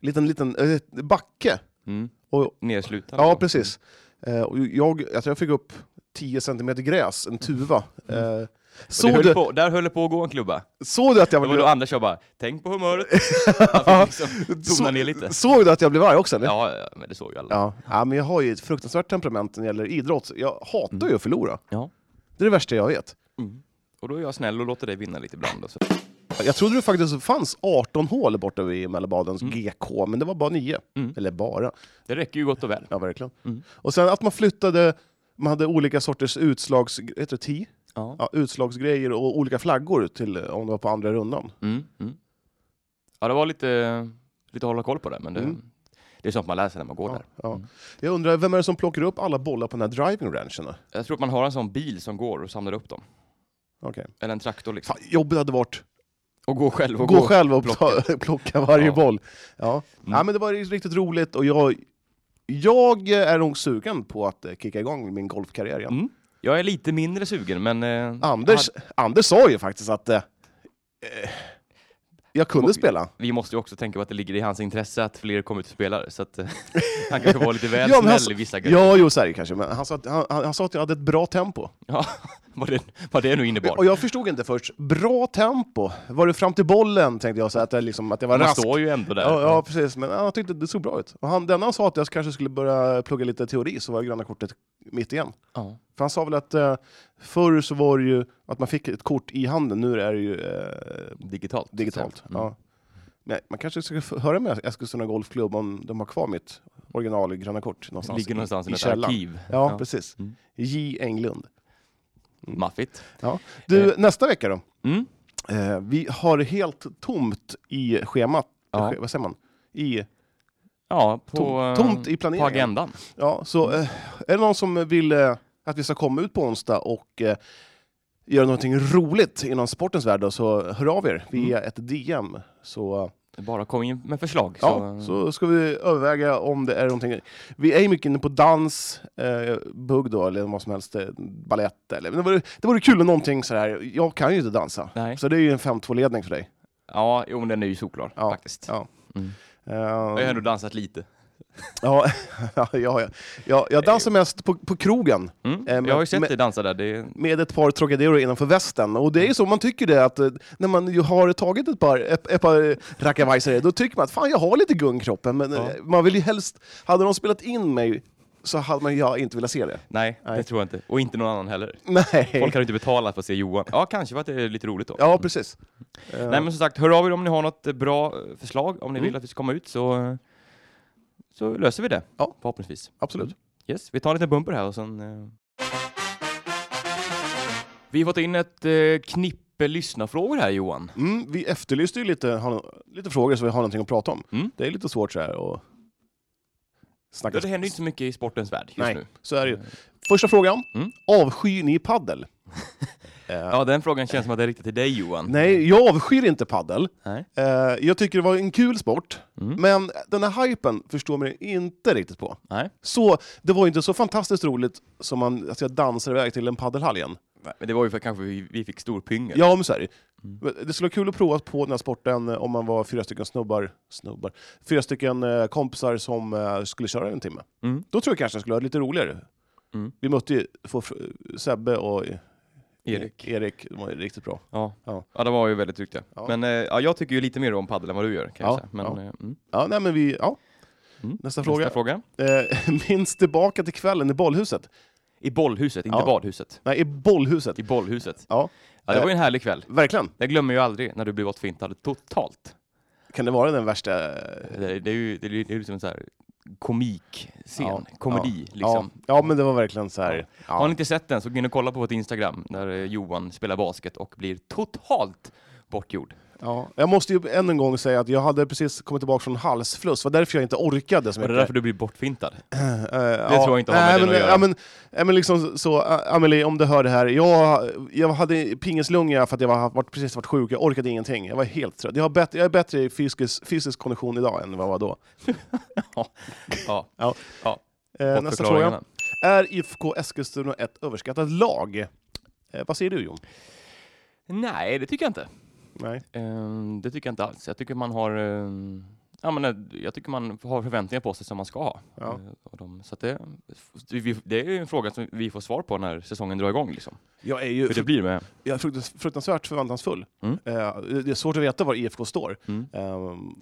S2: liten, liten eh, backe.
S1: Mm.
S2: Och,
S1: Nedslutad.
S2: ja,
S1: alltså.
S2: precis. Eh, Och jag, jag tror jag fick upp 10 cm gräs, en tuva.
S1: Och
S2: Eh,
S1: Mm. det
S2: Såg
S1: höll
S2: du,
S1: på, där höll det på att gå en klubba.
S2: såg du att jag
S1: Det var då
S2: blev...
S1: Anders jag bara, tänk på humöret. Han fick liksom tona
S2: så-
S1: ner lite.
S2: Såg du att jag blev arg också? Eller?
S1: Ja, ja, men det såg ju alla.
S2: Ja. ja, men jag har ju ett fruktansvärt temperament när det gäller idrott. Jag hatar
S1: Mm.
S2: ju att förlora.
S1: Ja.
S2: Det är det värsta jag vet.
S1: Och då är jag snäll och låter dig vinna lite ibland. och så.
S2: Jag trodde det faktiskt fanns 18 hål borta vid Mälardalens GK, men det var bara 9.
S1: Mm.
S2: Eller bara,
S1: Det räcker ju gott och väl.
S2: ja verkligen.
S1: Mm.
S2: Och sen att man flyttade, man hade olika sorters utslags, heter det tee?
S1: Ja.
S2: Ja, utslagsgrejer och olika flaggor till eh, om det var på andra rundan.
S1: Mm, mm. Ja, det var lite, lite att hålla koll på det, men det,
S2: Mm.
S1: det är sånt man lär sig när man går
S2: Ja,
S1: där.
S2: ja.
S1: Mm.
S2: Jag undrar, vem är det som plockar upp alla bollar på den här driving ranchen?
S1: Jag tror att man har en sån bil som går och samlar upp dem.
S2: Okej.
S1: Eller en traktor liksom.
S2: Fan, jobbigt hade varit
S1: Och gå själv. Och
S2: gå, själv och plocka, plocka varje
S1: Ja.
S2: boll. Ja.
S1: Mm.
S2: ja, men det var ju riktigt roligt och jag, jag är nog sugen på att eh, kicka igång min golfkarriär igen.
S1: Mm. Jag är lite mindre sugen, men... eh,
S2: Anders, Anders sa ju faktiskt att eh, eh, jag kunde
S1: Och-
S2: spela.
S1: Vi måste ju också tänka på att det ligger i hans intresse att fler kommer ut och spelar, så att eh, han kanske var lite väl
S2: Ja, men
S1: snäll
S2: han
S1: i vissa grejer.
S2: Ja, jo, så är det kanske, men han sa, att, han, han, han sa att jag hade ett bra tempo.
S1: Ja, vad, det, vad det nu innebar.
S2: Och jag förstod inte först. Bra tempo? Var det fram till bollen, tänkte jag, så att, jag liksom, att jag var
S1: Man
S2: rask.
S1: står ju ändå där.
S2: Ja, ja, precis. Men han tyckte det såg bra ut. Och han, den han sa att jag kanske skulle börja plugga lite teori, så var gröna kortet mitt igen.
S1: Ja.
S2: För han sa väl att eh, förr så var det ju att man fick ett kort i handen, nu är det ju eh,
S1: Digitalt. så att
S2: digitalt.
S1: säga. Mm.
S2: Ja. Men man kanske ska f- höra med Eskilstuna Golfklubb om de har kvar mitt original gröna kort
S1: Det
S2: någonstans.
S1: ligger någonstans i,
S2: i
S1: något
S2: källaren.
S1: arkiv.
S2: Ja,
S1: Ja.
S2: precis. Mm.
S1: Mm.
S2: J. Englund.
S1: Maffigt.
S2: Ja. Du,
S1: Eh.
S2: nästa vecka då.
S1: Mm.
S2: Eh, vi har helt tomt i schemat.
S1: Ja.
S2: Ske- Vad säger man? I,
S1: Ja, på,
S2: Tom-
S1: eh,
S2: tomt i
S1: på
S2: planeringen.
S1: agendan.
S2: Ja, så eh, är det någon som vill eh, att vi ska komma ut på onsdag och eh, göra någonting roligt inom sportens värld då, så hör av er via
S1: Mm.
S2: ett DM. Så, eh,
S1: Bara kom in med förslag.
S2: ja,
S1: så, Mm.
S2: så ska vi överväga om det är någonting. Vi är ju mycket inne på dans, eh, bugg då, eller vad som helst, eh, balett eller. Men det, vore, det vore kul om någonting så här. jag kan ju inte dansa.
S1: Nej.
S2: Så det är ju en 5-2-ledning för dig.
S1: Ja, jo, men den är ju solklar
S2: Ja,
S1: faktiskt.
S2: ja.
S1: Mm.
S2: Eh,
S1: Jag har ändå dansat lite.
S2: ja, ja, ja, ja, jag dansar mest på, på krogen.
S1: Mm.
S2: Eh, men-
S1: jag har ju sett
S2: men-
S1: dig dansa där. Det,
S2: med ett par Trocadero innanför västen. Och
S1: Mm.
S2: det är ju så, man tycker det att eh, när man ju har tagit ett par, ett, ett par rackavajsare, då tycker man att fan jag har lite gung i kroppen, men eh, man vill ju helst, hade de spelat in mig så hade man jag inte velat se det.
S1: nej,
S2: Nej.
S1: det tror jag inte. Och inte någon annan heller.
S2: Nej.
S1: Folk har ju inte betalat för att se Johan. Ja, kanske för att det är lite roligt då.
S2: Ja, precis. Eh,
S1: Nej, men som sagt, hör av er om ni har något eh, bra eh, förslag, om ni
S2: Mm.
S1: vill att vi ska komma ut, så, eh, så löser vi det
S2: Ja.
S1: förhoppningsvis.
S2: Absolut.
S1: Yes, vi tar en liten bumper här och sen... Eh... Vi har fått in ett eh, knippe lyssnarfrågor här Johan.
S2: Mm, vi efterlyste ju lite, har- lite frågor så vi har någonting att prata om.
S1: Mm.
S2: Det är lite svårt så här och snacka.
S1: Ja, det händer ju inte så mycket i sportens värld just
S2: Nej,
S1: nu.
S2: så är det ju. Första frågan.
S1: Mm.
S2: Avskyr ni paddel?
S1: Ja, den frågan känns som att det är riktat till dig Johan.
S2: Nej, jag avskyr inte paddel.
S1: Nej.
S2: Eh, jag tycker det var en kul sport,
S1: Mm.
S2: men den här hypen förstår man ju inte riktigt på.
S1: Nej.
S2: Så det var ju inte så fantastiskt roligt som man, att jag dansar iväg till en paddelhall igen.
S1: Men det var ju för att kanske vi, vi fick storpyngel.
S2: Ja, men så är det.
S1: Mm.
S2: Men Det skulle vara kul att prova på den här sporten eh, om man var fyra stycken snubbar, snubbar, fyra stycken eh, kompisar som eh, skulle köra en timme.
S1: Mm.
S2: Då tror jag kanske det skulle vara lite roligare.
S1: Mm.
S2: Vi mötte ju få fr- Sebbe och eh,
S1: Erik.
S2: Erik, de var ju riktigt bra.
S1: Ja.
S2: Ja.
S1: Ja. de var ju väldigt duktiga.
S2: Ja.
S1: Men eh, ja, jag tycker ju lite mer om padel än vad du gör. Kan
S2: Ja,
S1: jag säga. Men,
S2: ja.
S1: eh, mm.
S2: Ja, nej men vi, ja.
S1: Mm.
S2: Nästa fråga.
S1: Nästa fråga.
S2: Eh, minns tillbaka till kvällen i bollhuset?
S1: I bollhuset, inte
S2: Ja. Eh.
S1: badhuset.
S2: Nej, i bollhuset.
S1: I bollhuset.
S2: Ja.
S1: Ja, det var ju en härlig kväll.
S2: Verkligen.
S1: Det glömmer jag aldrig när du blev åtfintad totalt.
S2: Kan det vara den värsta...
S1: Det, det är ju det är, ju- det är ju liksom en sån här komikscen,
S2: Ja,
S1: komedi
S2: Ja.
S1: liksom.
S2: ja, men det var verkligen så här... Ja.
S1: Har ni inte sett den så gå in och kolla på vårt Instagram där eh, Johan spelar basket och blir totalt bortgjord.
S2: Ja, jag måste ju än en gång säga att jag hade precis kommit tillbaka från halsfluss, det var därför jag inte orkade så
S1: Var
S2: mycket.
S1: det därför du blev bortfintad?
S2: Eh,
S1: tror jag inte har med den
S2: nej, men,
S1: att göra.
S2: Ja, men, ja, men liksom så, ä, Amelie, om du hör det här, jag, jag hade pingislunga för att jag var, varit, precis varit sjuk, jag orkade ingenting, jag var helt trött. Jag, har bättre, jag är bättre i fysisk, fysisk kondition idag än vad jag var då.
S1: Ja,
S2: Eh,
S1: fått
S2: nästa fråga.
S1: förklaringarna.
S2: Är IFK Eskilstuna ett överskattat lag? Eh, vad säger du Jon?
S1: Nej, det tycker jag inte.
S2: Nej.
S1: Ehm, det tycker jag inte alls. Jag tycker man har, ehm, ja, men, eh, jag tycker man har förväntningar på sig som man ska ha.
S2: Ja.
S1: Eh, och de, så att det, vi- det är ju en fråga som vi får svar på när säsongen drar igång. Liksom.
S2: Jag är ju
S1: Hur det blir med...
S2: jag är fruktans- fruktansvärt förväntansfull.
S1: Mm.
S2: Eh, det är svårt att veta var IFK står.
S1: Mm.
S2: Ehm,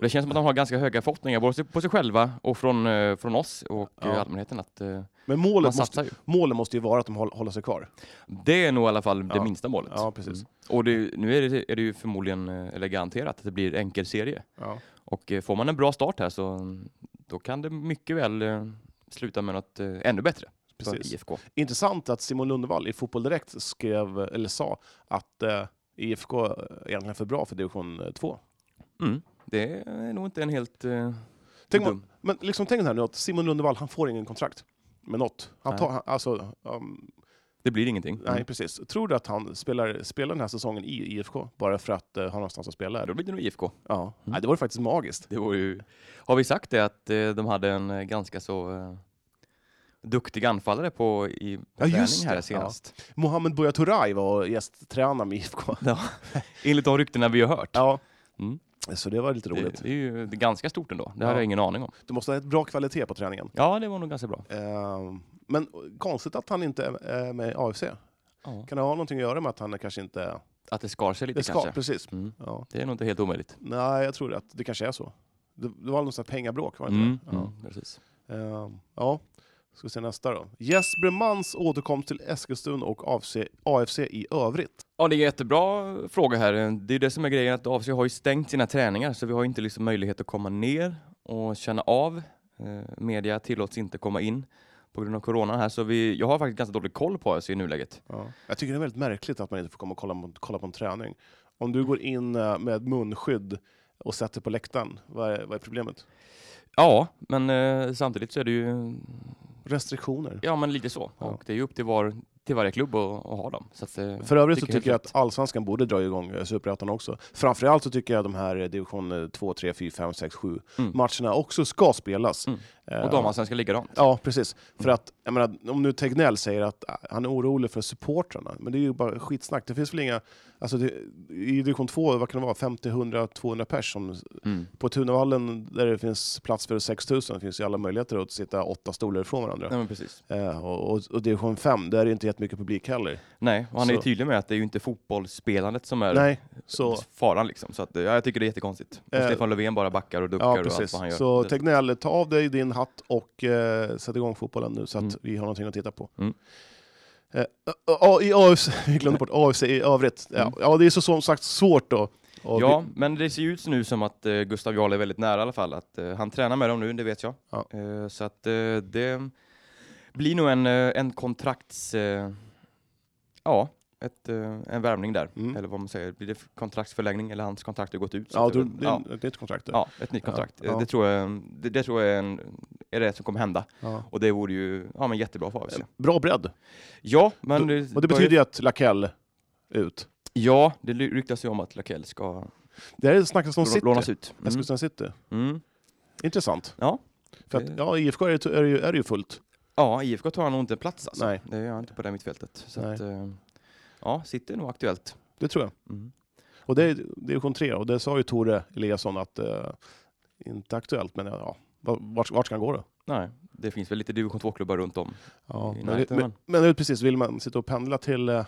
S1: Det känns som att de har ganska höga förhoppningar både på sig själva och från, eh, från oss och eh,
S2: Ja.
S1: allmänheten att eh,
S2: Men
S1: man
S2: målet måste,
S1: satsar ju.
S2: målen måste ju vara att de håll- håller sig kvar.
S1: Det är nog i alla fall
S2: Ja.
S1: det minsta målet.
S2: Ja, precis.
S1: Mm. Och det, nu är det, är det ju förmodligen, eh, eller garanterat, att det blir enkel serie.
S2: Ja.
S1: Och eh, får man en bra start här så mm, då kan det mycket väl eh, sluta med något eh, ännu bättre
S2: Precis.
S1: för IFK.
S2: Intressant att Simon Lundevall i Fotboll Direkt skrev, eller sa att eh, IFK är egentligen för bra för division eh, 2.
S1: Mm. Det är nog inte en helt eh,
S2: Tänk
S1: dum...
S2: Men liksom tänk här nu att Simon Lundevall, han får ingen kontrakt med något. Han
S1: Nej. Mm.
S2: tar, han, alltså, um,
S1: Det blir ingenting.
S2: nej, precis. Tror du att han spelar, spelar den här säsongen i IFK bara för att eh, ha någonstans att spela?
S1: Ja,
S2: Här?
S1: Då blir det nog IFK.
S2: Ja. Nej, det var ju faktiskt magiskt.
S1: Det var ju... Har vi sagt det att eh, de hade en eh, ganska så eh, duktig anfallare på i på
S2: Ja, just
S1: träning här
S2: det.
S1: senast?
S2: Mohamed Buya Turay var gästtränare med IFK.
S1: Enligt de ryktena vi har hört.
S2: Ja.
S1: Mm.
S2: Så det var lite roligt.
S1: det, det är ju ganska stort ändå. Det har
S2: Ja.
S1: jag ingen aning om.
S2: Du måste ha ett bra kvalitet på träningen.
S1: Ja, det var nog ganska bra.
S2: Ehm, men konstigt att han inte är med i AFC.
S1: Ja.
S2: Kan det ha någonting att göra med att han kanske inte...
S1: Att det skar sig lite
S2: Det ska,
S1: kanske.
S2: precis.
S1: Mm.
S2: Ja.
S1: Det är nog inte helt omöjligt.
S2: Nej, jag tror att det kanske är så. Det, det var något sånt här pengabråk, var det
S1: Mm.
S2: inte det? Ja.
S1: Mm, precis.
S2: Ehm, ja. Ska vi se nästa då. Jesper Mans återkomst till Eskilstuna och AFC, AFC i övrigt.
S1: Ja, det är en jättebra fråga här. Det är det som är grejen, att AFC har ju stängt sina träningar så vi har inte liksom möjlighet att komma ner och känna av. Eh, media tillåts inte komma in på grund av corona här, så vi, jag har faktiskt ganska dålig koll på AFC i nuläget.
S2: Jag tycker det är väldigt märkligt att man inte får komma och kolla, på- kolla på en träning. Om du går in eh, med munskydd och sätter på läktaren, vad är, vad är problemet?
S1: Ja, men eh, samtidigt så är det ju
S2: Restriktioner.
S1: ja, men lite så.
S2: Ja.
S1: Och det är ju upp till, var, till varje klubb att, att ha dem. Så att, eh,
S2: För övrigt
S1: Tycker
S2: så tycker jag
S1: helt
S2: att Allsvenskan borde dra igång eh, Superettan också. Framförallt så tycker jag att de här eh, division eh, 2, 3, 4, 5, 6, 7
S1: Mm.
S2: matcherna också ska spelas.
S1: Mm.
S2: Eh,
S1: och damallsvenskan likadant.
S2: Ja, precis.
S1: Mm.
S2: För att, jag menar, om nu Tegnell säger att eh, han är orolig för supportrarna, men det är ju bara skitsnack. Det finns väl inga, alltså det, i division 2, vad kan det vara, 50, 100, 200 pers som,
S1: Mm.
S2: på Tunavallen där det finns plats för 6000 finns ju alla möjligheter att sitta åtta stolar ifrån varandra.
S1: Nej, men precis.
S2: Eh, och, och, och division 5, där är det inte jättemycket publik heller.
S1: Nej, och han är ju
S2: Så-
S1: tydlig med att det är ju inte fotbollsspelandet som är
S2: Nej, så...
S1: faran liksom. Så att, eh, ja, jag tycker det är jättekonstigt. Och
S2: Eh,
S1: Stefan Löfven bara backar och duckar
S2: Ja,
S1: och allt
S2: precis.
S1: vad han gör.
S2: Så
S1: Det-
S2: Tegnell, ta av dig din hatt och eh, sätt igång fotbollen nu så att vi har någonting att titta på.
S1: Mm.
S2: Eh, ö- ö- i AFC, vi glömde bort AFC i övrigt. Ja, ja, det är så som sagt svårt då. Och
S1: Mm. ja, men det ser ju ut nu som att eh, Gustav Jarl är väldigt nära i alla fall. Att, eh, han tränar med dem nu, det vet jag.
S2: Ja.
S1: Eh, så att eh, det blir nog en, eh, en kontrakts... Eh, ja, ett, eh, en värvning där.
S2: Mm.
S1: Eller vad man säger, blir det kontraktsförlängning eller hans kontrakt har gått ut?
S2: Vi,
S1: så
S2: ja,
S1: att det-
S2: du, det är
S1: ja.
S2: ett nytt kontrakt. där.
S1: Ja, ett nytt
S2: Ja,
S1: kontrakt. Eh,
S2: ja.
S1: Det tror jag, det, det tror jag är, en, är det som kommer hända.
S2: Ja.
S1: Och det vore ju ja, men jättebra för AFC.
S2: Eh, Bra bredd.
S1: Ja, men...
S2: och det betyder ju att Lakell ut.
S1: Ja, det ly- ryktas ju om att Lakell ska
S2: Det här snackas om
S1: lå-
S2: City.
S1: lånas ut. Mm.
S2: Eskilstuna City.
S1: Mm.
S2: Intressant.
S1: Ja.
S2: För att,
S1: Det-
S2: ja, IFK är ju, är ju, är ju fullt.
S1: Ja, IFK tar nog inte en plats alltså.
S2: Nej.
S1: Det gör han inte på det mittfältet. Så
S2: Nej.
S1: att, eh, ja, sitter nog aktuellt.
S2: Det tror jag.
S1: Mm.
S2: Och det är division 3 och det sa ju Tore Eliasson att eh, inte aktuellt, men ja, va- vart, vart ska han gå då?
S1: Nej, det finns väl lite division 2-klubbar runt om.
S2: Ja,
S1: I
S2: men,
S1: närheten,
S2: men, men det är precis, vill man sitta och pendla till eh,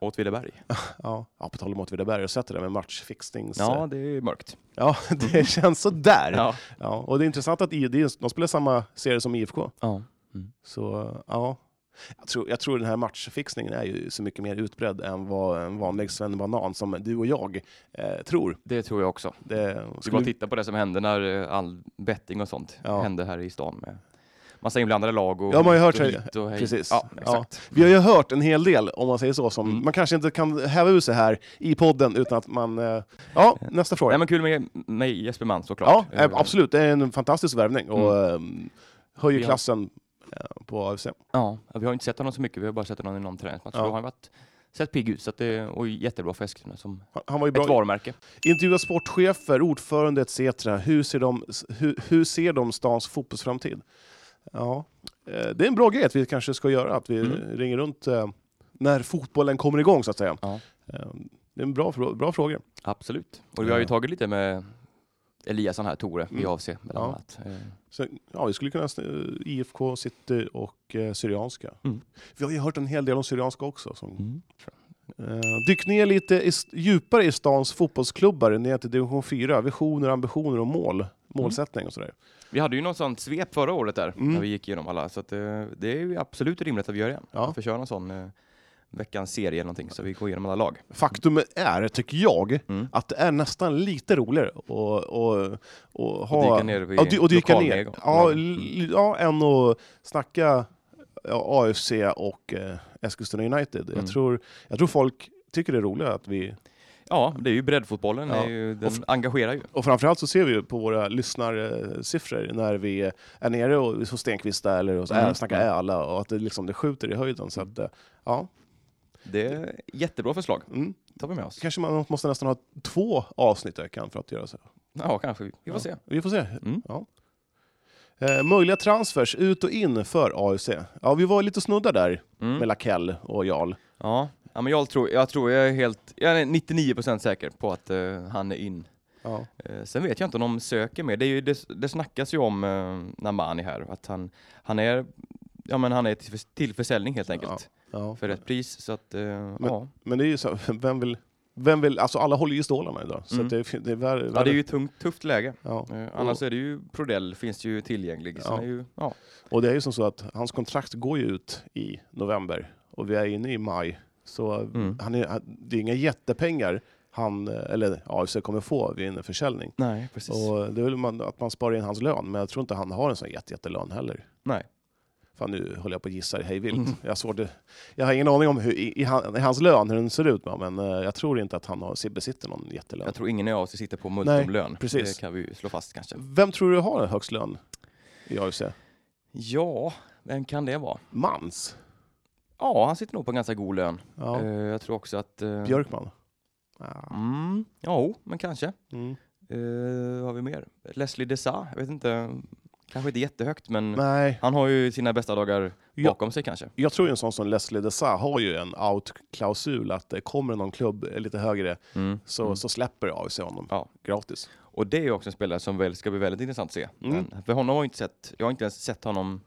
S1: Åtvidaberg.
S2: Ja, ja på tal om Åtvidaberg, och sätter det med matchfixnings...
S1: Ja, det är mörkt.
S2: ja, det känns sådär.
S1: Ja.
S2: Ja, och det är intressant att I, det är- de spelar samma serie som IFK.
S1: Ja.
S2: Så ja, jag tror, jag tror den här matchfixningen är ju så mycket mer utbredd än vad en vanlig svennebanan som du och jag eh, tror.
S1: Det tror jag också.
S2: Det,
S1: Vi bara titta på det som hände när eh, all betting och sånt
S2: Ja.
S1: hände här i stan med massa inblandade lag och
S2: Ja, man har ju hört
S1: hit och
S2: det.
S1: dit och hej.
S2: Precis.
S1: Ja,
S2: Ja.
S1: exakt.
S2: vi har ju hört en hel del, om man säger så, som
S1: Mm.
S2: man kanske inte kan häva ur sig här i podden utan att man... Eh, ja, nästa fråga.
S1: Nej, men kul med, med Jesper Mann
S2: ja,
S1: såklart.
S2: eh, absolut. Det är en fantastisk värvning och eh, höjer
S1: Ja.
S2: klassen eh, på AFC.
S1: Ja, vi har inte sett honom så mycket, vi har bara sett honom i någon träningsmatch.
S2: Ja.
S1: Då har han varit, sett pigg ut så att det, och jättebra för Eskilstuna som
S2: Han- Han var ju bra.
S1: ett varumärke.
S2: Intervjua sportchefer, ordförande etc. Hur ser de, hur, hur ser de stans fotbollsframtid? Ja, eh, det är en bra grej att vi kanske ska göra, att vi
S1: Mm.
S2: ringer runt eh, när fotbollen kommer igång så att säga.
S1: Ja.
S2: Eh, Det är en bra, frå- bra fråga.
S1: Absolut. Och vi har ju tagit lite med Eliasson här, Tore, i
S2: Eh. Mm.
S1: AFC bland
S2: Ja.
S1: annat. Eh,
S2: Så, ja, vi skulle kunna eh, IFK, City och eh, Syrianska.
S1: Mm.
S2: Vi har ju hört en hel del om Syrianska också. Som, eh, dyk ner lite i, st- djupare i stans fotbollsklubbar ner till division 4. Visioner, ambitioner och mål. Målsättning och sådär.
S1: Vi hade ju något sånt svep förra året där,
S2: Mm.
S1: när vi gick igenom alla, så att, eh, det är ju absolut rimligt att vi gör igen.
S2: Ja.
S1: Att vi kör någon sån eh, veckans serie eller någonting, så vi går igenom alla lag.
S2: Faktum är, tycker jag,
S1: Mm.
S2: att det är nästan lite roligare att och, och ha...
S1: dyka ner vid
S2: ja, dy- och dyka ner.
S1: lokalnivå.
S2: Ja,
S1: Mm.
S2: l- ja, än att snacka ja, AFC och eh, Eskilstuna United.
S1: Mm.
S2: Jag, tror, jag tror folk tycker det är roligare att vi...
S1: Ja, det är ju breddfotbollen,
S2: Ja.
S1: är ju, den
S2: Och f-
S1: engagerar ju.
S2: Och framförallt så ser vi ju på våra lyssnarsiffror när vi är nere och, hos Stenqvista eller hos,
S1: Mm.
S2: äh, snackar Äla och att det, liksom, det skjuter i höjden. Så att, eh, ja,
S1: Det är jättebra förslag,
S2: mm.
S1: tar vi med oss.
S2: Kanske man måste nästan ha två avsnitt i veckan för att göra så.
S1: Ja, kanske. Vi får
S2: Ja,
S1: se.
S2: Vi får se.
S1: Mm.
S2: Ja. Eh, möjliga transfers ut och in för AFC. Ja, vi var lite snudda där
S1: Mm.
S2: med Lakell och Jarl.
S1: Ja, ja men jag tror, jag tror, jag är helt, jag är 99% säker på att eh, han är in.
S2: Ja.
S1: Eh, sen vet jag inte om de söker mer. Det, är ju, det, det snackas ju om eh, Namani här, att han, han är, ja men han är till, till försäljning helt enkelt.
S2: Ja.
S1: För ett pris, så att, eh, ja.
S2: Men det är ju så, vem vill... Vem vill alltså alla håller ju i stålarna idag, så
S1: Mm.
S2: att det, det är värre.
S1: Ja, det är ju ett tungt, tufft läge.
S2: ja.
S1: Eh, annars är det ju Prodell finns ju tillgänglig. Sen
S2: Ja.
S1: är ju, ja.
S2: Och det är ju som så att hans kontrakt går ju ut i november och vi är inne i maj. Så
S1: Mm.
S2: han är, han- det är inga jättepengar han, eh, eller AFC kommer få vid en försäljning.
S1: Nej, precis.
S2: Och det är väl man, att man sparar in hans lön, men jag tror inte han har en sån jätte, jättelön heller.
S1: Nej. Mm.
S2: Fan, nu höll jag på att gissa hej vilt. Jag, har svårt att- jag har ingen aning om hur, i, i, han- i hans lön, hur den ser ut, men eh, jag tror inte att han har, besitter någon jättelön.
S1: jag tror ingen av oss sitter på multumlön.
S2: precis.
S1: Det kan vi ju slå fast kanske.
S2: Vem tror du har högst lön i AFC?
S1: Ja, vem kan det vara?
S2: Mans?
S1: Ja, han sitter nog på en ganska god lön.
S2: Ja.
S1: Eh, jag tror också att... eh,
S2: Björkman? Ah.
S1: Mm, ja, men kanske.
S2: Mm.
S1: Eh, har vi mer? Leslie Desa, jag vet inte. Kanske inte jättehögt, men
S2: Nej,
S1: han har ju sina bästa dagar
S2: Ja.
S1: bakom sig kanske.
S2: jag tror ju en sån som Leslie Dessa har ju en out-klausul att eh, kommer någon klubb eh, lite högre
S1: Mm.
S2: så,
S1: Mm.
S2: så släpper AFC honom
S1: Ja.
S2: gratis.
S1: Och det är ju också en spelare som väl ska bli väldigt intressant att se.
S2: Mm.
S1: Men För honom har jag inte sett, jag har inte ens sett honom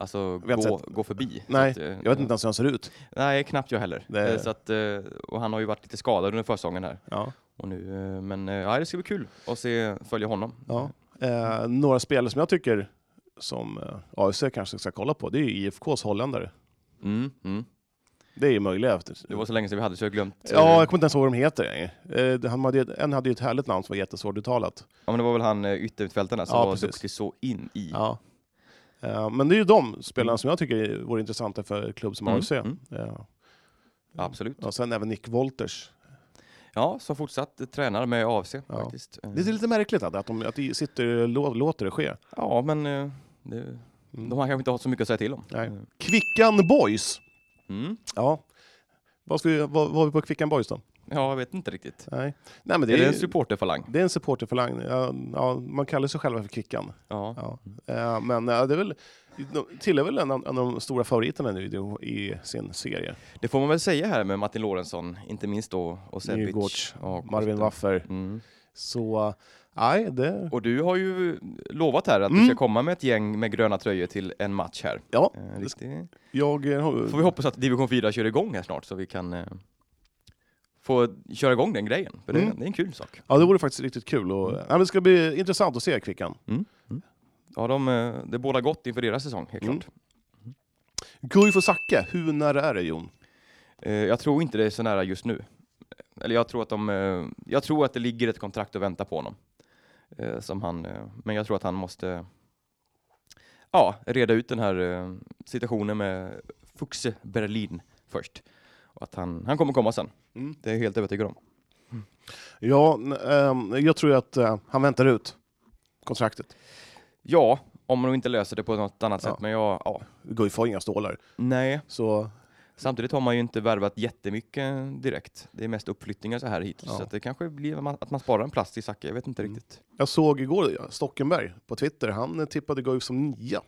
S1: alltså,
S2: Vi har inte
S1: gå, gå förbi.
S2: Nej,
S1: Så att, eh,
S2: Jag vet inte ens hur han ser ut.
S1: Nej, knappt jag heller.
S2: Det-
S1: Eh, Så att, eh, och han har ju varit lite skadad under försäsongen här.
S2: Ja.
S1: Och nu, eh, men eh, ja, det ska bli kul att se, följa honom.
S2: Ja. Eh, några spelare som jag tycker som eh, AFC kanske ska kolla på, det är ju IFKs holländare.
S1: Mm, mm.
S2: Det är ju möjliga efter.
S1: Det var så länge sedan vi hade så jag har glömt. eh,
S2: Ja, jag kommer inte ens ihåg vad de heter längre. Eh, han hade, ju- en hade ju ett härligt namn som var jättesvårt uttalat.
S1: ja, men det var väl han eh, ytterutfältaren där som
S2: Ja,
S1: var
S2: precis.
S1: duktig så in i.
S2: Ja. Eh, men det är ju de spelarna som jag tycker vore intressanta för en klubb som
S1: Mm,
S2: AFC.
S1: mm.
S2: Ja.
S1: Absolut.
S2: Eh, Och sen även Nick Wolters.
S1: Ja, som fortsatt eh, tränar med AFC
S2: Ja.
S1: faktiskt. Eh,
S2: Det är lite märkligt att, att, de, att de sitter och lå- låter det ske.
S1: Ja, men eh, det,
S2: Mm.
S1: de har kanske inte har så mycket att säga till om.
S2: Nej. Kvickan Boys!
S1: Mm.
S2: Ja. Vad ska vi, vad, vad har vi på Kvickan Boys då?
S1: Ja, jag vet inte riktigt.
S2: Nej, Nej men det
S1: är det
S2: är,
S1: en supporterfalang?
S2: det är en supporterförlang. Ja, ja, man kallar sig själva för Kvickan.
S1: Ja.
S2: Ja. Eh, men eh, det är väl, de tillhör väl en, av- en av de stora favoriterna nu i, i sin serie.
S1: Det får man väl säga här med Martin Lorentzon, inte minst då, och Sebic.
S2: Nygårds,
S1: Ja, och
S2: Marvin Waffer.
S1: Mm.
S2: Så, eh, nej, det...
S1: Och du har ju lovat här att du
S2: Mm.
S1: ska komma med ett gäng med gröna tröjor till en match här.
S2: Ja,
S1: Eh, riktigt.
S2: jag... eh,
S1: Får vi hoppas att division 4 kör igång här snart så vi kan eh, få köra igång den grejen. För
S2: Mm.
S1: det, det är en kul sak.
S2: Ja, det vore faktiskt riktigt kul. Och, ja, men det ska bli intressant att se Kvickan.
S1: Ja, de, eh, det båda gott inför deras säsong, helt
S2: Mm.
S1: klart.
S2: Guif och Zacke, hur nära är det Jon?
S1: Eh, Jag tror inte det är så nära just nu. Eller jag tror att, de, eh, jag tror att det ligger ett kontrakt och väntar på honom. Eh, Som han, eh, men jag tror att han måste ja, reda ut den här eh, situationen med Fuxe Berlin först. Och att han, han kommer komma sen.
S2: Mm.
S1: Det är jag helt övertygad om.
S2: Ja, n- ehm, jag tror att eh, han väntar ut kontraktet.
S1: Ja, om de inte löser det på något annat
S2: Ja.
S1: sätt. Men jag, ja,
S2: Guif har inga stålar.
S1: nej.
S2: Så
S1: Samtidigt har man ju inte värvat jättemycket direkt. Det är mest uppflyttningar så här hittills.
S2: Ja.
S1: Så att det kanske blir att man sparar en plats i Zacke. Jag vet inte
S2: Mm.
S1: riktigt.
S2: jag såg igår ja, Stockenberg på Twitter, han eh, tippade Guif som nia.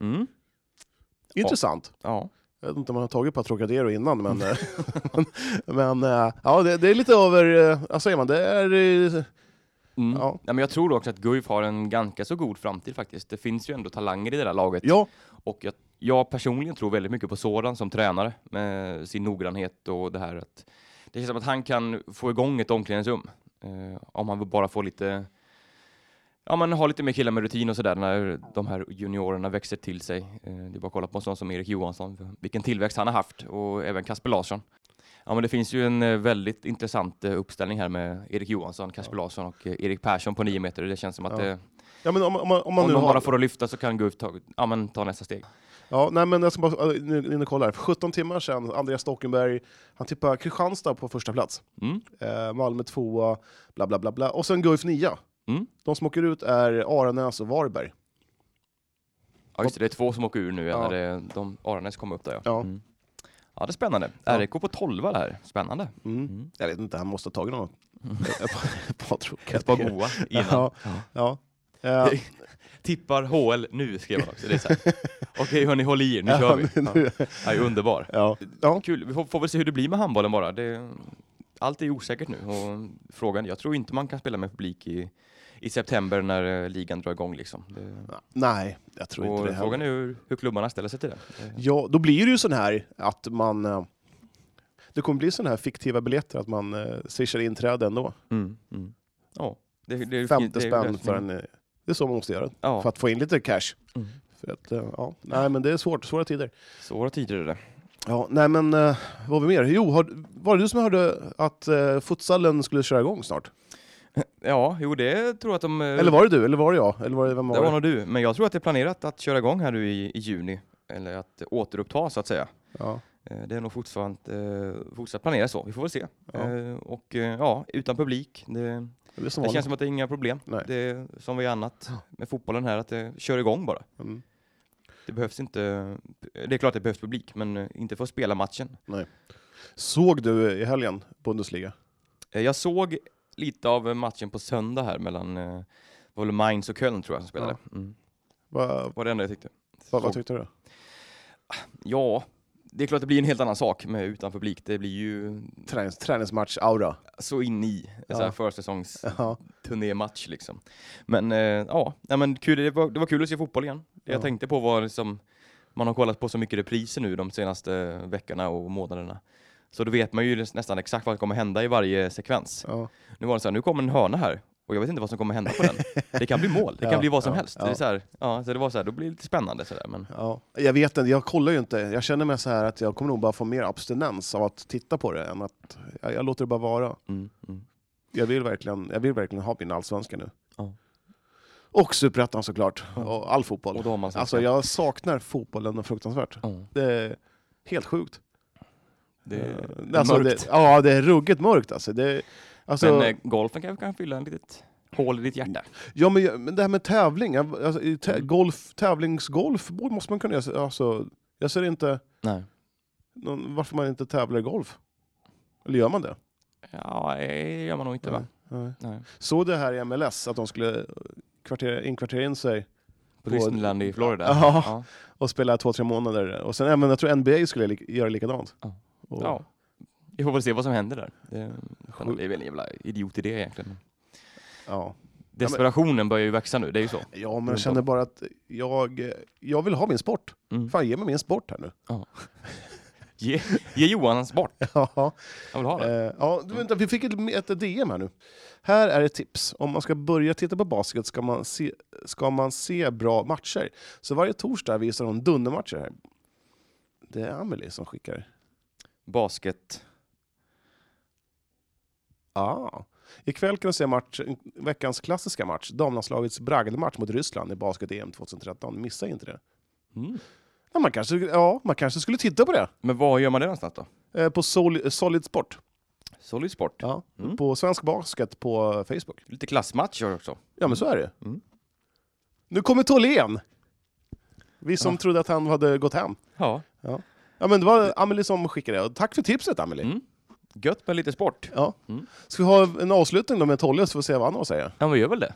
S1: Mm.
S2: Intressant.
S1: Ja.
S2: Jag vet inte om han har tagit på Trocadero innan, men... eh, men eh, ja, det, det är lite över... eh, Vad säger man? Det är... eh,
S1: Mm.
S2: Ja.
S1: Ja. men jag tror också att Guif har en ganska så god framtid faktiskt. Det finns ju ändå talanger i det där laget.
S2: Ja,
S1: Och jag, jag personligen tror väldigt mycket på Soran som tränare med sin noggrannhet och det här att det känns som att han kan få igång ett omklädningsrum. Eh, om han bara får lite, ja men har lite mer killar med rutin och sådär när de här juniorerna växer till sig. Eh, det är bara att kolla på en sån som Erik Johansson, vilken tillväxt han har haft och även Kasper Larsson. Ja men det finns ju en eh, väldigt intressant eh, uppställning här med Erik Johansson, Kasper Larsson och eh, Erik Persson på nio meter. Det känns som att
S2: Ja.
S1: det,
S2: ja men om, om, man- om man
S1: om
S2: nu
S1: de
S2: har...
S1: bara får att lyfta så kan Guif ta, ja, men ta nästa steg.
S2: Ja, nej, men jag ska bara eh, nu- in och kolla här. För 17 timmar sedan, Andreas Stockenberg, han tippade Kristianstad på första plats.
S1: Mm.
S2: Eh, Malmö tvåa, bla bla bla bla. Och sen Guif nia.
S1: Mm.
S2: De som åker ut är Aranäs och Varberg.
S1: Ja just det, det är två som åker ur nu ja.
S2: Ja.
S1: när det, de Aranäs kommer upp där ja.
S2: Ja.
S1: Mm. ja det är spännande.
S2: Ja.
S1: RIK på 12 där, spännande.
S2: Mm.
S1: Mm.
S2: Jag vet inte, han måste ha tagit något. Ett par- ett par tråkiga.
S1: Ett par goa innan.
S2: Ja. ja. Eh,
S1: Tippar HL nu skrev han också. Det är så här. Okej hörni, håll i er, nu kör vi. Ja.
S2: nu-
S1: Ja, det är underbar.
S2: ja. ja.
S1: Kul, vi får, får väl se hur det blir med handbollen bara. Det, allt är osäkert nu och frågan, jag tror inte man kan spela med publik i, i september när eh, ligan drar igång liksom. Det,
S2: Nej, jag tror inte det
S1: och frågan
S2: heller.
S1: är hur, hur klubbarna ställer sig till det. Eh,
S2: Ja, då blir det ju sån här att man... eh, Det kommer bli sån här fiktiva biljetter, att man eh, swishar inträde ändå.
S1: Mm. Mm. Ja, det, det, det,
S2: Femte
S1: det-
S2: spänn
S1: det-
S2: för en... eh, Det är så man måste göra.
S1: Ja.
S2: för att få in lite cash.
S1: Mm.
S2: För att, eh, ja. Nej, men det är svårt. Svåra tider.
S1: Svåra tider är det.
S2: Ja, nej, men eh, vad har vi mer? Jo, har, var det du som hörde att eh, futsalen skulle köra igång snart?
S1: Ja, jo det tror jag att de... eh,
S2: Eller var det du? Eller var det jag? Eller var det, vem var
S1: det
S2: det?
S1: var nog du, men jag tror att det är planerat att köra igång här nu i, i juni. Eller att återuppta så att säga.
S2: Ja.
S1: Eh, Det är nog fortfarande eh, fortsatt planerat så, vi får väl se.
S2: Ja.
S1: Eh, och eh, ja, utan publik. Det,
S2: Det är som
S1: det
S2: vanligt.
S1: känns som att det är inga problem.
S2: Nej.
S1: Det är som vi annat med fotbollen här, att det kör igång bara.
S2: Mm.
S1: Det behövs inte... Det är klart att det behövs publik, men eh, inte för att spela matchen.
S2: Såg du i helgen Bundesliga?
S1: Eh, Jag såg lite av eh, matchen på söndag här mellan eh, det var väl Mainz och Köln tror jag som spelade. Mm.
S2: Va,
S1: Det var det enda jag tyckte.
S2: va, vad
S1: Såg-
S2: tyckte du?
S1: Ja, det är klart det blir en helt annan sak med utan publik. Det blir ju
S2: Tränings, träningsmatch-aura.
S1: så in i en
S2: Ja.
S1: ja. försäsongs
S2: Ja.
S1: turnématch liksom. Men eh, ja, nej, men kul, det, var, det var kul att se fotboll igen. Det
S2: Ja.
S1: jag tänkte på var liksom, man har kollat på så mycket repriser nu de senaste veckorna och månaderna. Så då vet man ju nästan exakt vad som kommer hända i varje sekvens.
S2: Ja.
S1: Nu var det så här, nu kommer en hörna här och jag vet inte vad som kommer hända på den. Det kan bli mål, det kan
S2: Ja,
S1: bli vad som
S2: ja,
S1: helst. Det,
S2: ja.
S1: är så här, ja, så det var så här, då blir det lite spännande sådär. Men
S2: Ja. Jag vet inte, jag kollar ju inte. Jag känner mig så här att jag kommer nog bara få mer abstinens av att titta på det än att jag, jag låter det bara vara.
S1: mm, mm.
S2: Jag vill verkligen, jag vill verkligen ha min allsvenska nu.
S1: Ja.
S2: Och superettan såklart, och all fotboll.
S1: Och då har man
S2: Alltså jag saknar fotbollen fruktansvärt.
S1: Ja.
S2: Det är helt sjukt.
S1: Det är
S2: Eh, alltså,
S1: mörkt.
S2: Det, ja, det är ruggigt mörkt alltså. Det, alltså
S1: men eh, golfen kan, kan fylla en litet hål i ditt hjärta.
S2: ja, men, jag- men det här med tävling, jag- alltså, i
S1: Mm.
S2: tä, golf, tävlingsgolf borde- måste man kunna göra. Alltså, jag ser inte
S1: Nej.
S2: någon, varför man inte tävlar i golf. Eller gör man det?
S1: Ja, det gör man nog inte va?
S2: Nej.
S1: Nej.
S2: Såg det här i MLS, att de skulle kvartera, inkvartera in sig
S1: På
S2: På-
S1: Disneyland i Florida?
S2: Ja.
S1: Ja.
S2: och spela två, tre månader. Och sen, ja, men jag tror NBA skulle li- göra likadant.
S1: Ja.
S2: Och,
S1: Ja. Vi får väl se vad som händer där. Det, det är väl en jävla idiot idé egentligen.
S2: ja.
S1: Desperationen börjar ju växa nu, det är ju så.
S2: Ja, men jag känner bara att jag, jag vill ha min sport.
S1: Mm.
S2: Fan, ge mig min sport här nu.
S1: Ja. Ge, ge Johan hans bort.
S2: Ja.
S1: Han vill ha det.
S2: Eh, ja, du, vänta, vi fick ett, ett DM här nu. Här är ett tips. Om man ska börja titta på basket ska man se, ska man se bra matcher. Så varje torsdag visar de dundermatcher här. Det är Amelie som skickar.
S1: Basket.
S2: Ah. Ikväll kan du se match, veckans klassiska match, damlandslagets bragdmatch mot Ryssland i basket-EM 2013. Missa inte det.
S1: Mm.
S2: Ja, man, kanske, ja, man kanske skulle titta på det.
S1: Men var gör man det någonstans då?
S2: Eh, på Sol, Solid Sport.
S1: Solid Sport.
S2: Ja.
S1: Mm.
S2: På Svensk Basket på Facebook.
S1: Lite klassmatcher också.
S2: Ja, men så är det
S1: Mm.
S2: Nu kommer Tholén! Vi som trodde att han hade gått hem.
S1: Ja.
S2: Ja, men det var Amelie som skickade det. Och Tack för tipset, Amelie!
S1: Mm. Gött med lite sport.
S2: Ja.
S1: Mm.
S2: Ska vi ha en avslutning då med Tolle så får vi se vad han har att säga?
S1: Ja, men gör väl det.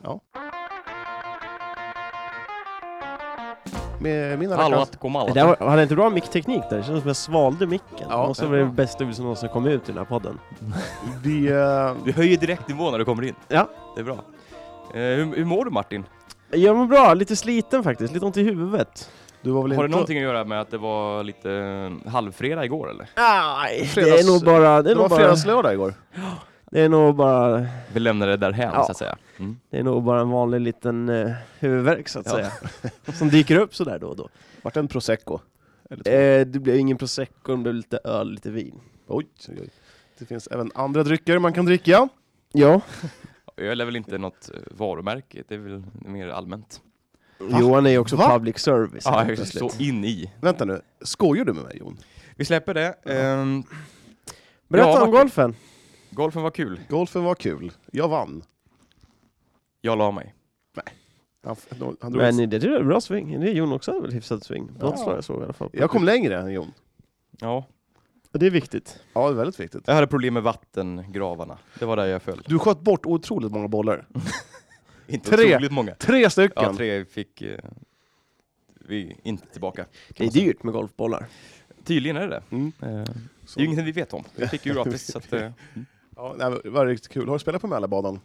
S2: Med mina
S1: Hallå
S2: veckans-
S1: att komma
S8: Det
S1: alla.
S8: där var, var det inte bra mickteknik där? Det känns som jag svalde micken.
S2: Ja,
S8: och så
S2: det är
S8: var det
S2: bra.
S8: bästa ord som någonsin kom ut i den här podden.
S2: Vi, eh,
S1: Du höjer direkt nivån när du kommer in.
S8: Ja.
S1: Det är bra. Eh, hur, hur mår du Martin?
S8: Jag mår bra, lite sliten faktiskt. Lite ont i huvudet.
S2: du var väl
S1: Har det
S2: inte...
S1: någonting att göra med att det var lite eh, halvfredag igår eller?
S8: Nej, det
S2: Fredags-
S8: är nog bara... Det
S2: Det
S8: är,
S2: var
S8: nog bara,
S2: fredagslördag igår.
S8: det är nog bara...
S1: Vi lämnar det därhän
S8: Ja.
S1: så att säga. Mm.
S8: Det är nog bara en vanlig liten uh, huvudvärk så att
S1: Ja.
S8: säga. Som dyker upp sådär då och då.
S2: Vart det en prosecco? Eller två?
S8: Eh, det blev ingen prosecco, det blev lite öl, lite vin.
S2: Oj, oj, oj. Det finns även andra drycker man kan dricka.
S8: Ja,
S1: Öl är väl inte något eh, varumärke, det är väl mer allmänt.
S8: Johan är ju också
S2: Va?
S8: public service.
S1: Ja,
S8: helt
S1: jag är
S8: plötsligt.
S1: så in i.
S2: Vänta nu, skojar du med mig Jon?
S1: Vi släpper det. Ehm,
S8: Berätta
S1: Ja,
S8: om
S1: Martin.
S8: golfen.
S1: golfen var kul.
S2: Golfen var kul. Jag vann.
S1: Jag la mig.
S2: Han, han drog
S8: Men eh, det tror jag är bra swing. Det är Jon också, väl hyfsad swing. På
S2: Ja.
S8: något slag jag såg i alla fall.
S2: jag kom längre än Jon.
S1: Ja.
S8: Det är viktigt.
S2: Ja, det är väldigt viktigt.
S1: Jag hade problem med vattengravarna. Det var där jag föll.
S2: Du sköt bort otroligt många bollar.
S1: Inte
S2: Tre.
S1: otroligt många.
S2: Tre stycken!
S1: Ja, tre fick eh, vi inte tillbaka.
S8: Det är dyrt med golfbollar.
S1: Tydligen är det det.
S2: Mm.
S1: Eh,
S2: Så-
S1: det är ju ingenting vi vet om. Vi fick ju gratis. så att, eh,
S2: Ja, nej, men det var riktigt kul. Har du spelat på Mälarbanan?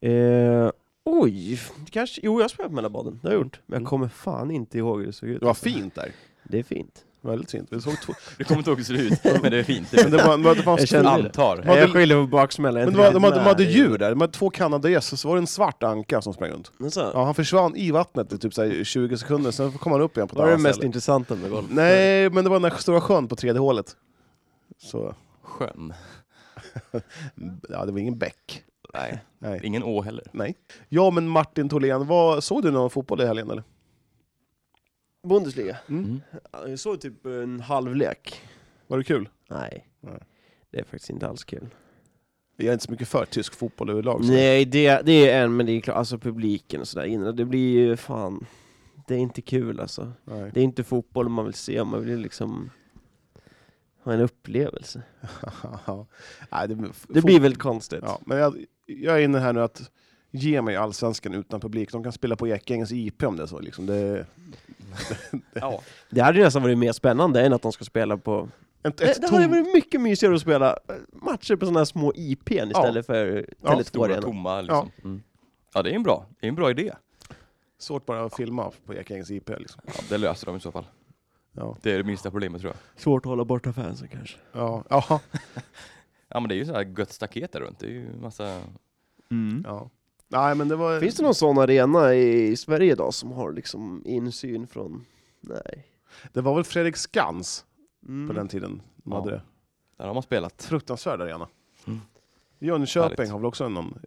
S8: Eh, oj, det kanske, jo jag har spelat Mälarbaden, det har jag gjort. Men jag kommer fan inte ihåg hur det såg ut.
S2: Det var fint där.
S8: Det är fint.
S2: Väldigt fint. Vi såg två...
S1: du kommer inte ihåg hur det ser ut, men det är fint.
S2: Men det var, men det fanns
S8: Jag
S2: två...
S8: kände-
S1: Antar.
S8: Nej, jag
S2: det-
S8: skyller på baksmällan.
S2: Men det var, de, hade, de hade djur där. De hade två kanadagäss och så var det en svart anka som sprang runt. Ja, han försvann i vattnet i typ så här 20 sekunder, sen kom han upp igen på ett
S8: Det var det
S2: annat
S8: mest
S2: ställe.
S8: intressanta med golf.
S2: Nej, men det var den där stora sjön på tredje hålet. Så,
S1: Sjön.
S2: ja, det var ingen bäck.
S1: Nej.
S2: Nej.
S1: Ingen å heller.
S2: Ja, men Martin Tholén, vad, såg du någon fotboll i helgen eller?
S8: Bundesliga.
S1: Mm.
S8: Ja, Jag såg typ en halvlek.
S2: Var det kul?
S8: Nej.
S2: Nej.
S8: Det är faktiskt inte alls kul.
S2: Jag är inte så mycket för tysk fotboll överlag. så-
S8: Nej, det, det är en, men det är klart, alltså publiken och sådär innan, det blir ju fan... Det är inte kul alltså.
S2: Nej.
S8: Det är inte fotboll man vill se, man vill ju liksom ha en upplevelse.
S2: Ja. Nej, det,
S8: Det blir väl konstigt.
S2: Ja, men jag, jag är inne här nu att ge mig allsvenskan utan publik. De kan spela på Ekängens IP om det är så. Liksom. Det,
S1: Ja.
S8: Det hade ju nästan varit mer spännande än att de ska spela på...
S2: ett,
S8: Det,
S2: ett
S8: det hade
S2: tom-
S8: varit mycket mysigare att spela eh, matcher på sådana här små IPn istället för Tele2
S1: Stora
S8: Arena.
S1: tomma liksom. Ja. Mm. ja, det är en bra, det är en bra idé.
S2: Svårt bara att filma på Ekängens IP. Liksom.
S1: Ja, det löser de i så fall.
S2: Ja.
S1: Det är det minsta problemet tror jag.
S8: Svårt att hålla borta fansen kanske.
S2: Ja, ja,
S1: Ja, men det är ju så här gött staket där runt. Det är ju massa...
S2: ja. Nej, men det var...
S8: Finns det någon sån arena i Sverige idag som har liksom insyn från... Nej.
S2: det var väl Fredrik Skans
S8: Mm.
S2: på den tiden. De
S1: Ja.
S2: hade det.
S1: Där har man spelat.
S2: Fruktansvärd arena.
S1: Mm.
S2: Jönköping
S1: Härligt.
S2: har väl också någon...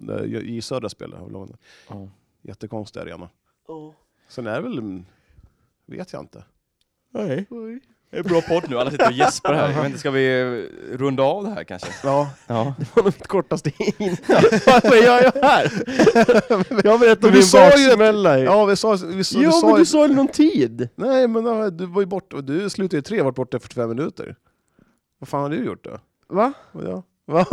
S2: där J Södra spelar har väl någon
S1: Ja.
S2: jättekonstig arena.
S8: Ja.
S2: Sen är det väl... mm, Vet jag inte.
S8: Nej.
S1: Det är en bra podd nu, alla sitter och gäspar här. Jag vet inte, ska vi eh, runda av det här kanske?
S2: Ja,
S1: Ja.
S8: Det var nog mitt kortaste in. Varför gör jag här? Jag berättade
S2: Men
S8: om
S2: vi
S8: min
S2: sa ju-
S8: baksmälla. ju.
S2: ja vi sa... Vi sa, vi
S8: jo,
S2: sa
S8: Eh. men
S2: ju-
S8: du sa ju någon tid.
S2: Nej, men ja, du var ju borta. Du slutade ju tre, jag varit borta i 45 minuter. Vad fan har du gjort då?
S8: Va?
S2: Och jag, Va?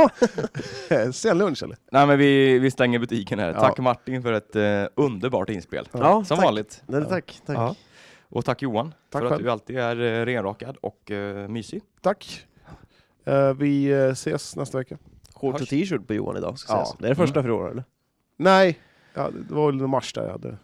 S2: Sen lunch eller?
S1: Nej men vi, vi stänger butiken här.
S2: Ja.
S1: Tack Martin för ett eh, underbart inspel.
S8: Ja,
S1: Som
S8: tack.
S1: vanligt.
S8: Nej, tack, tack.
S1: Ja. Och tack Johan
S2: Tack
S1: för att
S2: själv.
S1: du alltid är eh, renrakad och eh, mysig.
S2: Tack. Eh, vi eh, ses nästa vecka.
S8: Shorts och t-shirt på Johan idag, ska
S2: Ja.
S8: sägas. Det är det första för i år, eller?
S2: Nej, ja, det var väl i mars där jag hade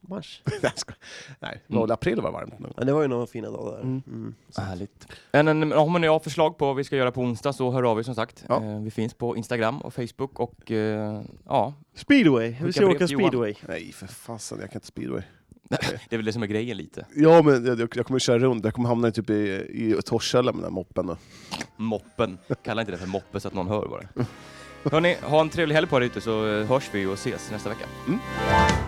S8: mars.
S2: Nej, jag skojar. Nej, det var väl april var varmt nu.
S8: Ja, det var ju några fina dagar där.
S2: Mm.
S8: Mm.
S1: Härligt. Men, en- om ni har förslag på vad vi ska göra på onsdag så hör av er som sagt.
S2: Ja.
S1: Eh, Vi finns på Instagram och Facebook och eh, ja,
S8: Speedway,
S1: Skicka
S8: vi ska
S1: brev
S8: åka
S1: till Johan.
S8: speedway.
S2: Nej, för fasen, jag kan inte speedway.
S1: det är väl det som är grejen lite.
S2: Ja, men jag, jag kommer köra runt. Jag kommer hamna i typ i, i Torshälla med den här moppen. Då.
S1: Moppen. Kalla inte det för moppe så att någon hör bara. Hörni, ha en trevlig helg på er ute så eh, hörs vi och ses nästa vecka.